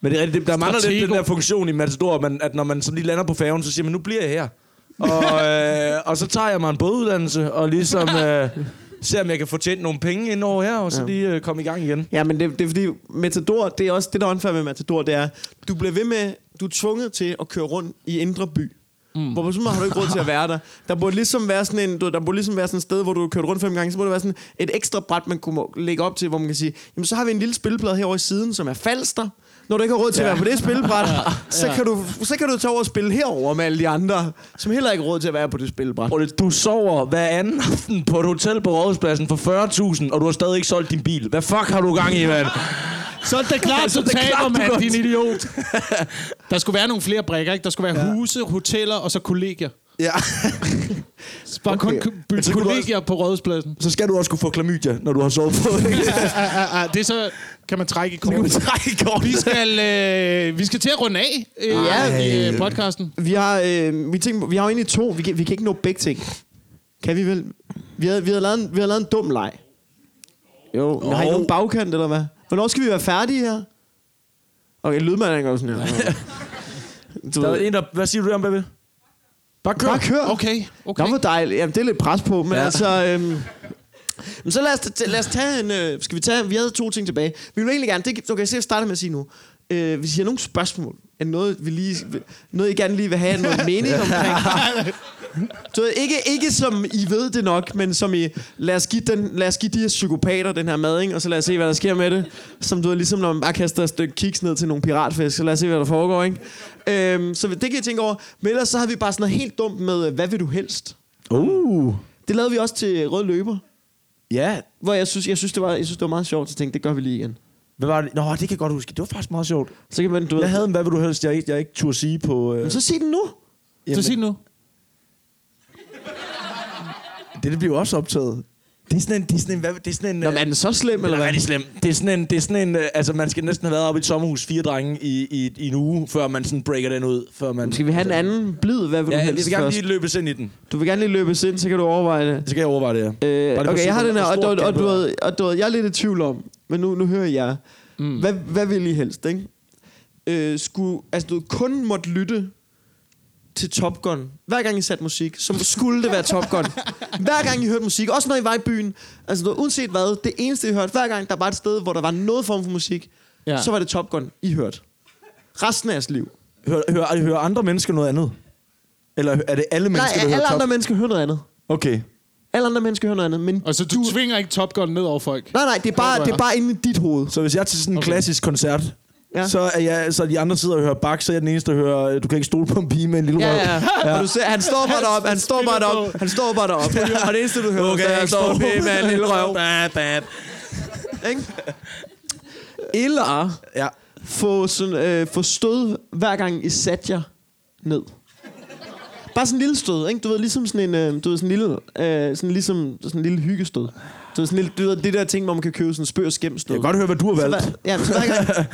Men det er rigtigt, det- der mangler lidt Stratego. den der funktion i Matador, at man, at når man så lige lander på færgen, så siger man, nu bliver jeg her. Og, øh, og så tager jeg mig en båduddannelse, og ligesom øh, ser, om jeg kan få tjent nogle penge ind over her, og så lige øh, komme i gang igen. Ja, men det, det er fordi, Matador, det er også det, der er unfair med Matador, det er, du bliver ved med, du er tvunget til at køre rundt i indre by. Mm. Hvor på sådan en måde har du ikke råd til at være der. Der burde ligesom være sådan en, du, der burde ligesom være sådan et sted, hvor du kørt rundt fem gange, så burde der være sådan et ekstra bræt, man kunne må- lægge op til, hvor man kan sige, jamen så har vi en lille spilleplade herovre i siden, som er falster. Når du ikke har råd til ja. at være på det spillebræt, ja. så, kan du, så kan du tage over og spille herover med alle de andre, som heller ikke har råd til at være på det spillebræt. Prøv lidt, Du sover hver anden aften på et hotel på Rådhuspladsen for 40.000, og du har stadig ikke solgt din bil. Hvad fuck har du gang i, mand? så er det klart, så det er klart, taber du man, godt. din idiot. Der skulle være nogle flere brækker, ikke? Der skulle være ja. huse, hoteller og så kollegier. Ja. Så bare okay. kun by- så kunne du kollegier på rådhuspladsen. Så skal du også kunne få klamydia, når du har sovet på. Ah, ah, ah, det er så, kan man trække i kortet. Vi skal, øh, vi skal til at runde af øh, Ej. ja, i øh, podcasten. Vi har, øh, vi, tænker, vi har jo egentlig to. Vi kan, vi kan ikke nå begge ting. Kan vi vel? Vi har, vi har, lavet, en, vi har lavet en dum leg. Jo, men har I Jo. nogen bagkant, eller hvad? Hvornår skal vi være færdige her? Okay, lydmanden går sådan her. Du, Der er ved, en, der... Hvad siger du om, baby? Bare kør. bare kør. Okay, okay. Nå, hvor dejligt. Jamen, det er lidt pres på, men ja. Ja. altså... Øhm, men så lad os, t- lad os tage en... Øh, skal vi tage... Vi havde to ting tilbage. Vi vil egentlig gerne... Det, kan- okay, så jeg starter med at sige nu. Øh, hvis I har nogle spørgsmål, er noget, vi lige, noget, I gerne lige vil have noget mening omkring. Du ved, ikke, ikke som I ved det nok, men som I... Lad os give, den, lad os give de her psykopater den her mad, ikke? og så lad os se, hvad der sker med det. Som du ved, ligesom når man bare kaster et stykke kiks ned til nogle piratfisk, så lad os se, hvad der foregår. Ikke? Øhm, så det kan I tænke over. Men ellers så har vi bare sådan noget helt dumt med, øh, hvad vil du helst? Uh. Det lavede vi også til Rød Løber, Ja, hvor jeg synes, jeg synes, det, var, jeg synes, det var meget sjovt, så jeg tænkte, det gør vi lige igen. Hvad var det? Nå, det kan jeg godt huske. Det var faktisk meget sjovt. Så kan man, du ved, Jeg havde en, hvad vil du helst, jeg ikke, jeg ikke turde sige på... Øh, Men så sig den nu. Så jamen, sig det nu. det, det bliver jo også optaget. Det er sådan en... Det er sådan en, hvad, det er sådan en Nå, øh, men er den så slem, den eller er hvad? rigtig slem. Det er sådan en... Det er sådan en øh, altså, man skal næsten have været oppe i et sommerhus, fire drenge, i, i, i en uge, før man sådan breaker den ud. Før man, Skal vi have en anden blid? Hvad vil du Ja, vi helst vil gerne først? lige løbes ind i den. Du vil gerne lige løbes ind, så kan du overveje det. Så kan jeg overveje det her. Øh, Bare det okay, jeg har forsøg, den her, hvor og, stort og, og, kan du det ved, og du ved, jeg er lidt i tvivl om, men nu, nu hører jeg. Mm. Hvad, hvad vil I helst, ikke? Øh, skulle, altså, du ved, kun måtte lytte til Top Gun. Hver gang I satte musik, så skulle det være Top Gun. Hver gang I hørte musik, også når I var i byen. Altså, du ved, uanset hvad, det eneste I hørte, hver gang der var et sted, hvor der var noget form for musik, ja. Ja. så var det Top Gun, I hørte. Resten af jeres liv. Hører, hører, hører andre mennesker noget andet? Eller er det alle Nej, mennesker, der alle hører andre top? mennesker hører noget andet. Okay. Alle andre mennesker hører noget andet, men... Og så du, du tvinger ikke Top Gun ned over folk. Nej, nej, det er bare, det er bare inde i dit hoved. Så hvis jeg er til sådan en Okay. okay. klassisk koncert, Ja. ja. så, er jeg, så de andre sidder og hører bak, så er jeg den eneste, der hører, øh, du kan ikke stole på en pige med en lille Ja, røv. ja, ja. Og du ser, han står bare deroppe, han står bare deroppe, han står bare deroppe. Og det eneste, du hører, Okay, det er, jeg han står står- med med en lille røv. Bad, bad. Ikke? Eller Ja. få, sådan, øh, få stød, hver gang I satte jer ned. Bare sådan en lille stød, ikke? Du ved, ligesom sådan en, øh, du ved, sådan en lille, øh, sådan ligesom, sådan en lille hyggestød. Du ved, sådan en lille, du ved, det der ting, hvor man kan købe sådan en spøg og skæmstød. Jeg kan godt høre, hvad du har Så valgt. hver- Ja, så hver gang,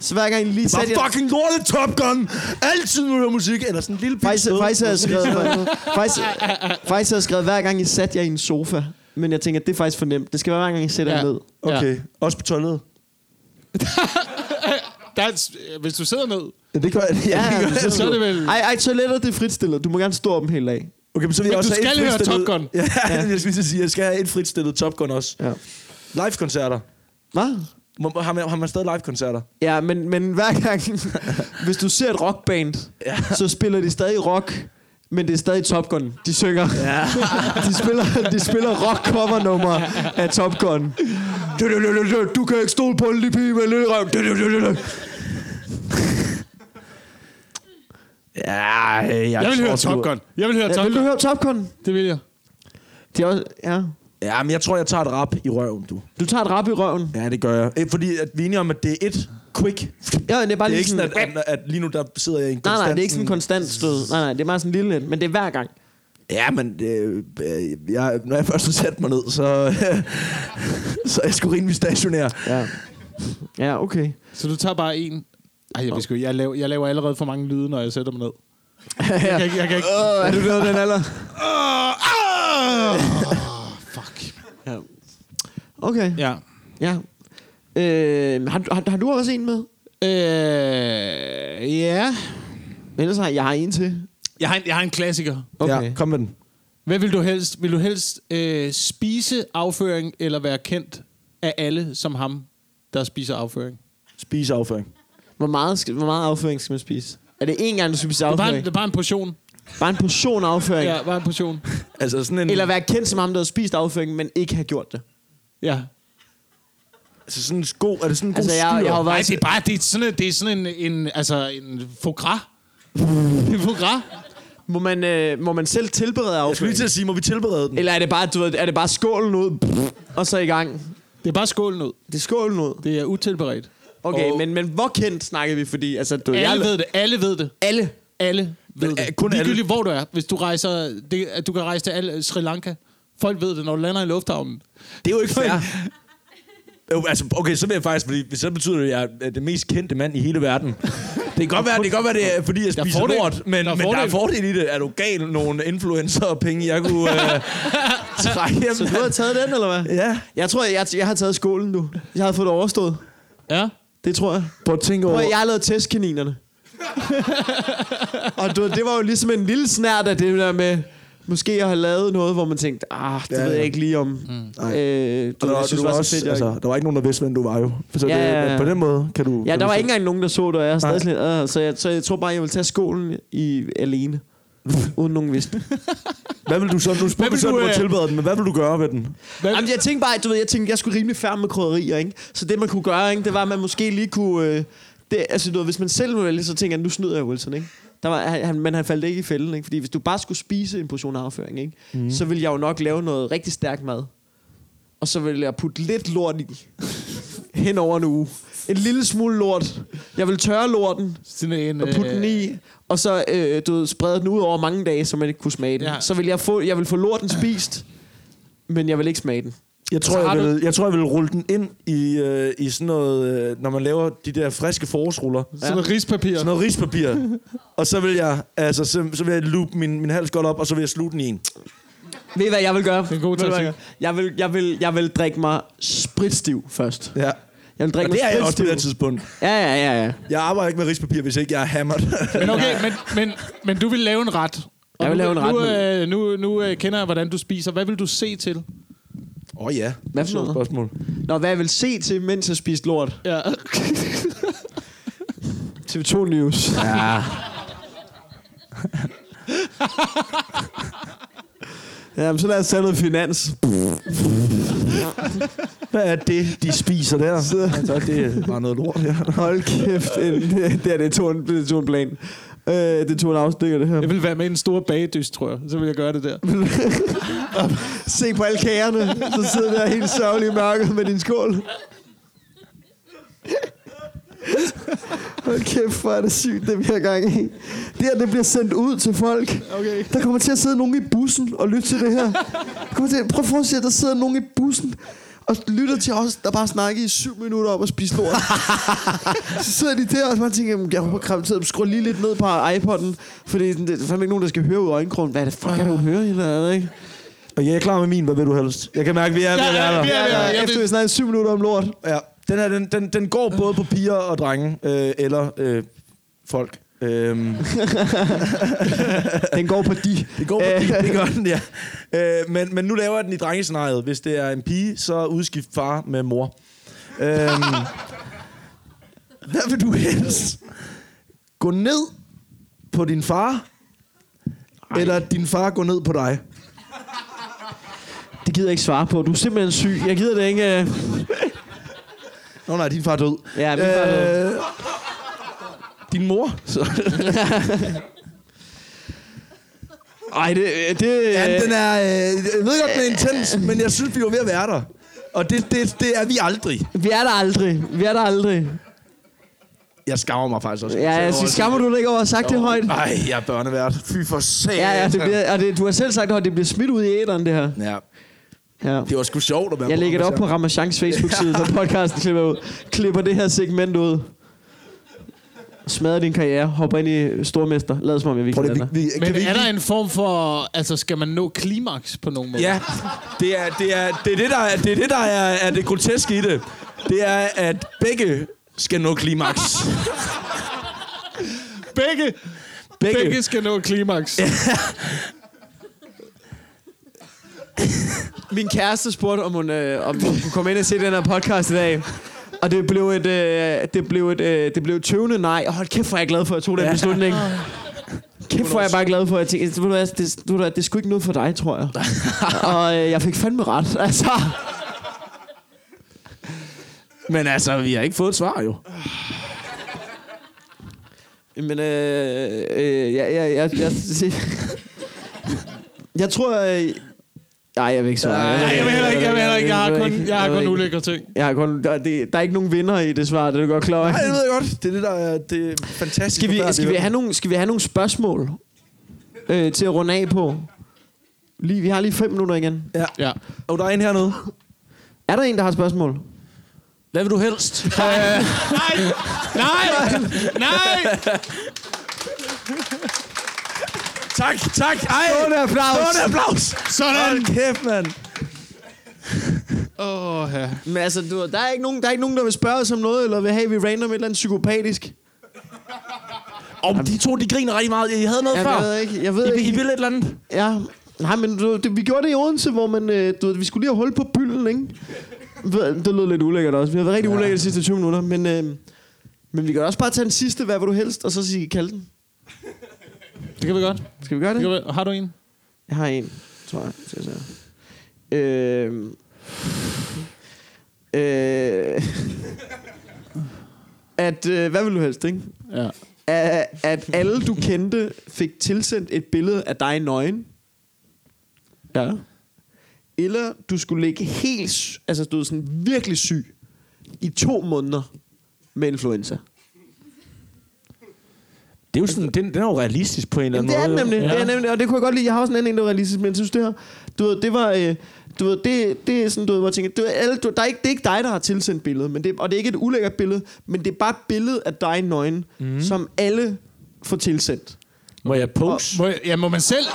så hver gang I lige Hvor satte jer- fucking lortet Top Gun! Altid nu hører musik, eller sådan en lille bitte Faktisk, stød. faktisk, har jeg skrevet, faktisk, faktisk har jeg skrevet, hver gang I satte jer i en sofa. Men jeg tænker, det er faktisk for nemt. Det skal være hver gang I sætter jer Ja. ned. Okay, også på toilettet. Der er, et- hvis du sidder ned, Ja, det gør jeg. Ja, det gør jeg. så er det vel... Ej, ej, toilettet det er fritstillet. Du må gerne stå op dem helt af. Okay, men så vil jeg Men også du have skal et høre Top fritstillet- Gun. Ja, jeg skulle lige sige, jeg skal have et fritstillet Top Gun også. Ja. Live-koncerter. Hvad? Må- Har man, har man stadig live-koncerter? Ja, men, men hver gang, hvis du ser et rockband, ja. så spiller de stadig rock, men det er stadig Top Gun. De synger. Ja. de, spiller, de spiller rock cover nummer af Top Gun. Du, du, du, du, du, du kan ikke stole på en lille pige med en lille røv. Du, du, du, du, du. Ja, jeg, øh, Jeg vil høre Top Gun. Jeg vil høre Ja, Top vil du Gun. høre Top Gun? Det vil jeg. Det er også, ja. Ja, men jeg tror, jeg tager et rap i røven, du. Du tager et rap i røven. Ja, det gør jeg. Eh, Fordi at vi er enige om, at det er et quick. Det Ja, det er bare er lige ikke sådan, sådan, at, at, at lige nu der sidder jeg i en Nej, konstant... nej, det er ikke sådan en konstant stød. Nej, nej, det er bare sådan en lille lidt, men det er hver gang. Ja, men øh, øh, jeg, når jeg først har sat mig ned, så, så er jeg sgu rimelig stationær. Ja. Ja, okay. Så du tager bare en... Ej, jeg, ved sgu, jeg, laver, jeg laver allerede for mange lyde, når jeg sætter mig ned. Jeg kan ikke... Jeg kan ikke. er du nået den alder? Øh, ah! Fuck. Okay. Ja. Ja. Øh, har, du- har, har, du også en med? Øh, ja. Ellers har jeg har en til. Jeg har, en, jeg har en klassiker. Okay. Ja, kom med den. Hvad vil du helst? Vil du helst øh, spise afføring, eller være kendt af alle som ham, der spiser afføring? Spise afføring. Hvor, meget skal, hvor meget afføring skal man spise? Er det én gang, du skal spise Okay. Bare, afføring? en, bare en portion. Bare en portion afføring? Ja, bare en portion. Altså sådan en, Eller være kendt som ham, der har spist afføring, men ikke har gjort det? Ja. altså sådan en sko, er det sådan en god Altså, jeg, jeg har jo Nej, været... det er bare det er sådan, det er sådan en, en, altså, en faux gras. Det er faux gras. Må man, øh, må man selv tilberede jeg skulle afføring? lige til at sige, må vi tilberede den? Eller er det bare, du ved, er det bare skålen ud, pff, og så i gang? Det er bare skålen ud. Det er skålen ud. Det er utilberedt. Okay, Og- men, men hvor kendt snakker vi? Fordi altså, du, Alle jeg, ved det. Alle ved det. alle. Alle ved Men, øh, det. kun alle- Ligegyldigt, hvor du er. Hvis du rejser... Det, at du kan rejse til alle, Sri Lanka. Folk ved det, når du lander i lufthavnen. Det er jo ikke fair. Jo, altså, okay, så vil jeg faktisk, fordi så betyder det, at jeg er den mest kendte mand i hele verden. Det kan godt være, det kan godt være, det er, fordi jeg er spiser fordel. lort, men, Der er men der er fordel. fordel i det. Er du gal, nogle influencer og penge, jeg kunne øh, trække hjem? Så du har taget den, eller hvad? Ja. Jeg tror, jeg, jeg har taget skålen nu. Jeg har fået det overstået. Ja. Det tror jeg. Prøv at tænke Prøv, over... at, jeg har lavet testkaninerne. og du, ved, det var jo ligesom en lille snært af det der med... Måske jeg har lavet noget, hvor man tænkte, ah, det Ja, ja, ved jeg ja. ikke lige om. Mm. Øh, du, Og ved, der, jeg synes, synes, du det var også, så fedt, jeg altså, altså, der var ikke nogen, der vidste, hvem du var jo. Så Ja, det, ja, ja. på den måde kan du... Ja, kan der du var selv- ikke engang nogen, der så det, og jeg er stadig Nej. sådan lidt, øh, så, jeg, så jeg tror bare, jeg vil tage skålen i, alene. Uden nogen vidste. Hvad vil du så... Nu spurgte vil du så, du, du har øh, tilberedt den, men hvad vil du gøre ved den? Hvad- Jamen, jeg tænkte bare, du ved, jeg tænkte, jeg skulle rimelig færre med krydderier, ikke? Så det, man kunne gøre, ikke, det var, at man måske lige kunne... Øh, det, altså, du ved, hvis man selv ville vælge, så tænker jeg, nu snyder jeg Wilson, ikke? Der var, han, men han faldt ikke i fælden, ikke? Fordi hvis du bare skulle spise en portion afføring, ikke? Mhm. Mm. Så ville jeg jo nok lave noget rigtig stærk mad. Og så ville jeg putte lidt lort i. hen over en uge. En lille smule lort. Jeg vil tørre lorten Sådan en... og putte den i, og så øh, du ved, sprede den ud over mange dage, så man ikke kunne smage den. Ja. Ja. Så vil jeg, få, jeg vil få lorten spist, men jeg vil ikke smage den. Jeg tror, har jeg, du- vil, jeg tror, jeg vil rulle den ind i, øh, i sådan noget... Øh, når man laver de der friske forårsruller. Sådan noget rispapir. Sådan noget rispapir. og så vil jeg, altså, så, så vil jeg loop min, min hals godt op, og så vil jeg slutte den i en. Ved I, hvad jeg vil gøre? Det er en god taktik. Jeg vil, jeg, vil, jeg vil drikke mig spritstiv først. Ja. Jeg vil drikke Og det er mig jeg også på spritstiv. det her tidspunkt. Ja, ja, ja, ja. Jeg arbejder ikke med rispapir, hvis ikke jeg er hammered. Men okay, men, men, men du vil lave en ret. Og Jeg vil nu- lave en ret, Nu, øh, nu, nu øh, kender jeg, hvordan du spiser. Hvad vil du se til? Åh oh, ja. Hvad for Sjovt noget? spørgsmål. Nå, hvad jeg vil se til, mens jeg spiste lort? Ja. TV2 News. Ja. Jamen, så lad os tage noget finans. Hvad er det, de spiser der? Altså, det er bare noget lort, ja. Hold kæft. en- Det, her, det, tog en, det tog en plan. Øh, det tog en afstikker, det her. Jeg vil være med i en stor bagedyst, tror jeg. Så vil jeg gøre det der. Se på alle kagerne, så sidder der helt sørgelig i mørket med din skål. Hold kæft, hvor er det sygt, det vi har gang i. Det her, det bliver sendt ud til folk. Okay. Der kommer til at sidde nogen i bussen og lytte til det her. Der kommer til, prøv at forestille jer, der sidder nogen i bussen og lytter til os, der bare snakker i syv minutter om at spise lort. så sidder de der, og man tænker, "Jamen, jeg håber kraftigt, skru lige lidt ned på iPod'en, for det er sådan- det er fandme ikke nogen, der skal høre ud af øjenkrogen. Hvad er det fuck, er det, hun hører hende ad, ikke? Og jeg er klar med min, hvad vil du helst? Jeg kan mærke, vi er ved at Ja, ja, være vi der. er- ja, jeg Efter ved- vi snakker syv minutter om lort. Ja, den her, den, den, den går både på piger og drenge, øh, eller øh, folk. Øhm, Den går på de. det går på piger, det gør den, ja. Øh, men, men nu laver jeg den i drengescenariet. Hvis det er en pige, så udskift far med mor. Øhm, hvad vil du helst? Gå ned på din far, Ej. eller din far gå ned på dig? Det gider jeg ikke svare på. Du er simpelthen syg. Jeg gider det ikke. øh. Nå nej, din far er død. Ja, min far er Øh, Din mor? Så. Ej, det... det Øh. Ja, den er... Øh, jeg ved godt, den er intens, men jeg synes, vi var ved at være der. Og det, det, det er vi aldrig. Vi er der aldrig. Vi er der aldrig. Jeg skammer mig faktisk også. Ja, jeg synes, skammer du dig ikke over at have sagt det højt? Nej, jeg er børnevært. Fy for satan. Ja, ja, det bliver, og det, du har selv sagt, at det bliver smidt ud i æderen, det her. ja, Ja. det var sgu sjovt at være Jeg på lægger det op på Ramazan. Ramachans Facebook-side, når podcasten klipper ud. Klipper det her segment ud. Smadrer din karriere, hopper ind i stormester. Lad os som om, jeg Prøv virkelig lige, lander. vi, vi, Men kan vi er ikke der en form for... Altså, skal man nå klimaks på nogen måde? Ja, det er det, er, det, er det der, er, det, er det, der er, er det groteske i det. Det er, at begge skal nå klimaks. Begge, Begge. begge skal nå klimaks. Ja. Min kæreste spurgte, om hun, øh, om hun kunne komme ind og se den her podcast i dag. Og det blev et, øh, det blev et, øh, det blev et tøvende nej. Og hold kæft, hvor er jeg glad for, at jeg tog den Ja. beslutning. Kæft, hvor er jeg bare glad for, at jeg tænkte, altså, ved du hvad, det, du, det er sgu ikke noget for dig, tror jeg. og øh, jeg fik fandme ret, altså. Men altså, vi har ikke fået et svar jo. Men øh, øh, jeg, jeg, jeg, jeg, jeg, jeg tror... Øh, nej, jeg vil ikke svare. Nej, jeg vil heller ikke, jeg vil heller ikke. Jeg har kun, jeg har ved kun ikke. ulækre ting. Jeg har kun, der, det, der er ikke nogen vinder i det svar, det er du godt klar over. Nej, det ved jeg godt. Det er det, der er det er fantastisk. Skal vi, forfærdeligt. skal vi, have, nogle, skal vi have nogle spørgsmål øh, til at runde af på? Lige, vi har lige fem minutter igen. Ja. Og der er en hernede. Er der en, der har spørgsmål? Hvad vil du helst? Nej! Nej! Nej! tak, tak. Ej, Stående applaus. Stående applaus. Sådan! Hold kæft, mand. Åh, ja. Men altså, du, der, er ikke nogen, der er ikke nogen, der vil spørge os om noget, eller vil have, at vi random et eller andet psykopatisk. Og de to, de griner rigtig meget. I havde noget Jamen, før. jeg ved ikke, jeg ved I, ikke. I ville et eller andet. Ja, nej, men du, det, vi gjorde det i Odense, hvor man, øh, du, ved, vi skulle lige have hul på bylden, ikke? Ved- Det lød lidt ulækkert også. Vi har været rigtig ja. ulækkert de sidste 20 minutter, men, øh, men vi kan også bare tage den sidste, hvad vil du helst, og så sige kalde den. Det kan vi godt. Skal vi gøre Det det? kan vi. Har du en? Jeg har en, tror jeg. Skal jeg se. Øh, øh, at, øh, hvad vil du helst, ikke? Ja. At, at alle, du kendte, fik tilsendt et billede af dig nøgen. Ja. Eller du skulle ligge helt, sy- altså du er sådan virkelig syg, i to måneder med influenza. Det er jo sådan, den, den er jo realistisk på en eller Jamen, anden det er den nemlig, måde. ja. det er den nemlig, og det kunne jeg godt lide. Jeg har også en anden en, der var realistisk, men jeg synes det her, du ved, det var, øh, du ved, det, det er sådan, du ved, hvor jeg tænker, du, ved, alle, du, der er ikke, det er ikke dig, der har tilsendt billedet, men det, og det er ikke et ulækkert billede, men det er bare et billede af dig nøgen, Mhm. mm. som alle får tilsendt. Må jeg pose? Må, ja, må man selv...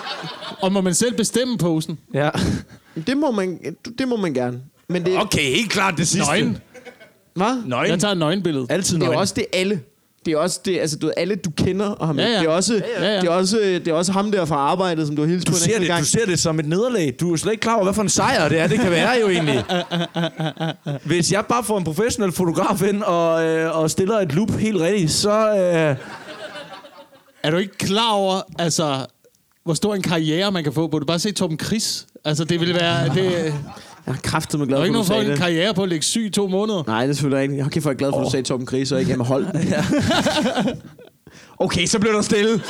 Og må man selv bestemme posen? Ja. Det må man, det må man gerne. Men det, Okay, helt klart det sidste. Nøgen. Hvad? Nøgen. Jeg tager et nøgenbillede. Altid Det er nøgen. jo også det alle. Det er også det, altså du ved, alle du kender og ham. Ja, Ja, ja. ja. Det er også ja. det er også det er også ham der fra arbejdet, som du har hilst du på en ser, enkelt det, gang. du ser det som et nederlag. Du er slet ikke klar over, hvad for en sejr det er. Det kan være jo egentlig. Hvis jeg bare får en professionel fotograf ind og, øh, og stiller et loop helt rigtigt, så... Øh, Er du ikke klar over, altså, hvor stor en karriere man kan få på det? Bare se Torben Chris. Altså, det ville være... Det, der Jeg er kraftedeme glad er jo for, ikke at du nogen for sagde en det. karriere på at ligge syg i to måneder. Nej, det er selvfølgelig ikke. Jeg er kæft, hvor er jeg glad for, at du sagde Torben Krise og ikke Emma Holten. okay, så blev der stille.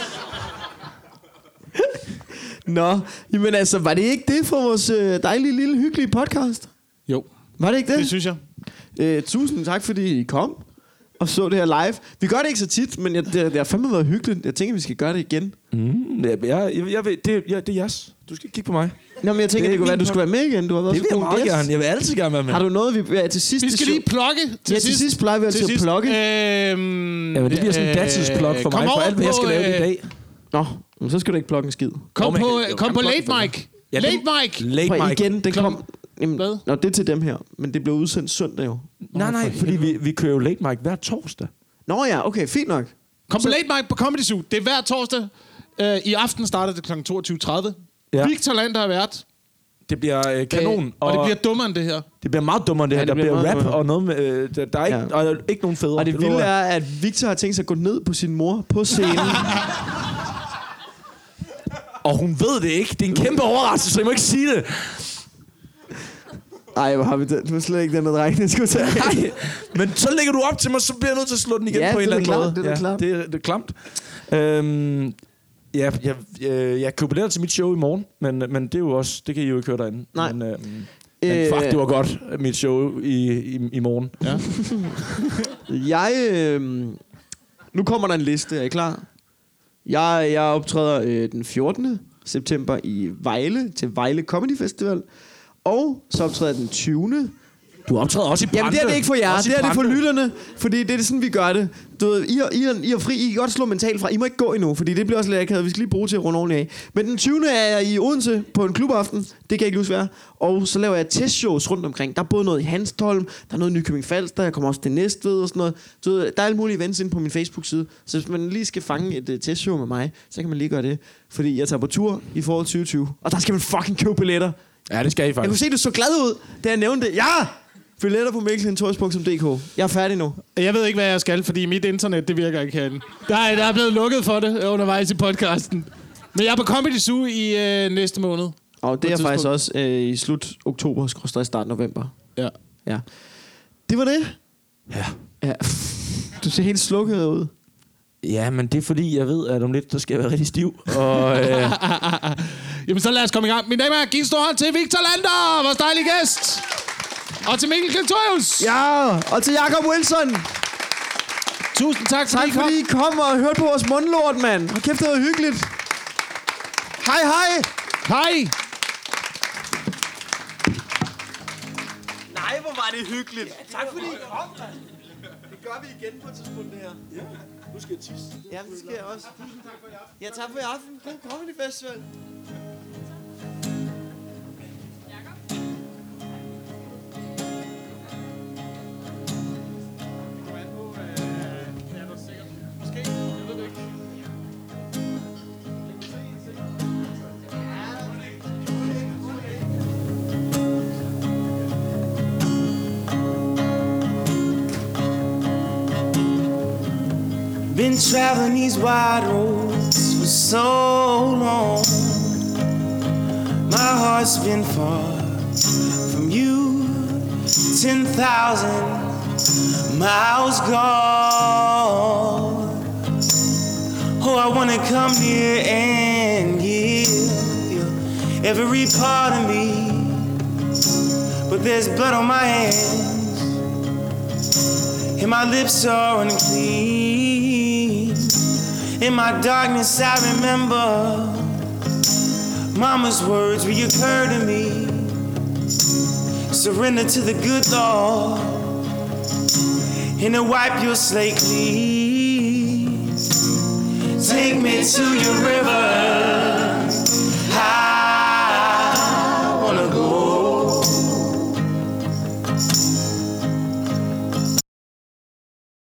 Nå, jamen altså, var det ikke det for vores øh, dejlige, lille, hyggelige podcast? Jo, Var det ikke det? det synes jeg. Øh, tusind tak, fordi I kom. og så det her live. Vi gør det ikke så tit, men jeg, det, det har fandme været hyggeligt. Jeg tænker, vi skal gøre det igen. Mm, jeg, jeg, jeg, jeg ved, det, jeg, det er jeres. Du skal ikke kigge på mig. Nå, men jeg tænker, det, er det kunne min være, du skulle være med igen. Du har været Det vil så jeg god meget gæst. gerne. Jeg vil altid gerne være med. Har du noget, vi ja, til sidst? Vi skal lige plukke til Ja, til sidst Øh. plejer vi altid at plukke. Øhm, Jamen, det bliver sådan en datidsplug kom for mig, for over alt, hvad jeg skal på, lave i øh, dag. Nå, men så skal du ikke plukke en skid. Kom Nå, men på, jeg kan- jeg kom kan på plukke late for mic. Ja, det- Late mic. Late Prøv, mic. igen, den Klokken- kom... Jamen, Hvad? Nå, det er til dem her, men det blev udsendt søndag jo. Nej, nej, fordi vi, vi kører jo late mic hver torsdag. Nå ja, okay, fint nok. Kom på late mic på Comedy Zoo. Det er hver torsdag. Øh, I aften starter det kl. 22.30. Ja. Ja. Vildt talent har været. Det bliver øh, kanon. og, og det bliver dummere end det her. det bliver meget dummere, end det her. Ja, det der bliver meget bliver rap dummere. og noget med... Øh, der, der er ikke, Ja. og der er ikke nogen federe. Og det vilde lover jeg. er, at Victor har tænkt sig at gå ned på sin mor på scenen. Og hun ved det ikke. Det er en kæmpe overraskelse, så jeg må ikke sige det. Ej, hvor har vi det? Det var slet ikke den, der dreng, jeg skulle tage. Nej, men så lægger du op til mig, så bliver jeg nødt til at slå den igen Ja, på en det eller er anden da klart, måde. det er da klart. det er, det er klamt. Øhm, ja, jeg, jeg, jeg køber billetter til mit show i morgen, men, men det er jo også, det kan I jo ikke høre derinde. Nej. Øh. Men, øhm, men fuck, det var godt, mit show i, i, i morgen. Ja. Jeg, øh, nu kommer der en liste, er I klar? Jeg, jeg optræder øh, den 14. september i Vejle til Vejle Comedy Festival. Og så optræder jeg den 20. Du optræder også i Brande. Jamen det er det ikke for jer, Også i det er det for Brande. lytterne, fordi det er sådan, vi gør det. Du ved, I, er, I, er, I er fri, I kan godt slå mentalt fra, I må ikke gå endnu, fordi det bliver også lidt akavet, vi skal lige bruge til at runde ordentligt af. Men den 20. er jeg i Odense på en klubaften, det kan jeg ikke huske være, og så laver jeg testshows rundt omkring. Der er både noget i Hanstholm, der er noget i Nykøbing Falster, jeg kommer også til Næstved og sådan noget. Du ved, der er alle mulige events inde på min Facebook-side, så hvis man lige skal fange et uh, testshow med mig, så kan man lige gøre det, fordi jeg tager på tur i foråret 2020, og der skal man fucking købe billetter. Ja, det skal I Jeg kunne faktisk. se, du så glad ud, da jeg nævnte det. Ja! Billetter på mikkelhentorius.dk. Jeg er færdig nu. Jeg ved ikke, hvad jeg skal, fordi mit internet, det virker ikke herinde. Der er, der er blevet lukket for det undervejs i podcasten. Men jeg er på Comedy Zoo i øh, næste måned. Og På det et er faktisk tidspunkt. også øh, i slut oktober, skråstrej start november. Ja. Ja. Det var det. Ja. ja. Du ser helt slukket ud. Ja, men det er fordi, jeg ved, at om lidt, der skal jeg være rigtig stiv. Og, øh, Jamen, så lad os komme i gang. Mine damer og herrer, giv en stor hånd til Victor Lander, vores dejlige gæst. Og til Mikkel Klintorius. Ja, og til Jacob Wilson. Tusind tak, Tak I kom. fordi I kom og hørte på vores mundlort, mand. Hold kæft, det var hyggeligt. Hej, hej. Hej. Nej, hvor var det hyggeligt. Tak fordi I kom, mand. Det gør vi igen på et tidspunkt, det her. Ja, nu skal jeg tisse. Ja, det skal jeg også. Tusind tak for i aften. Ja, tak for i aften. God Comedy Festival. Been traveling these wide roads for so long. My heart's been far from you, 10,000 miles gone. Oh, I wanna come near and give you every part of me. But there's blood on my hands and my lips are unclean. In my darkness, I remember Mama's words reoccur to me. Surrender to the good Lord, and to wipe your slate clean. Take me to your river.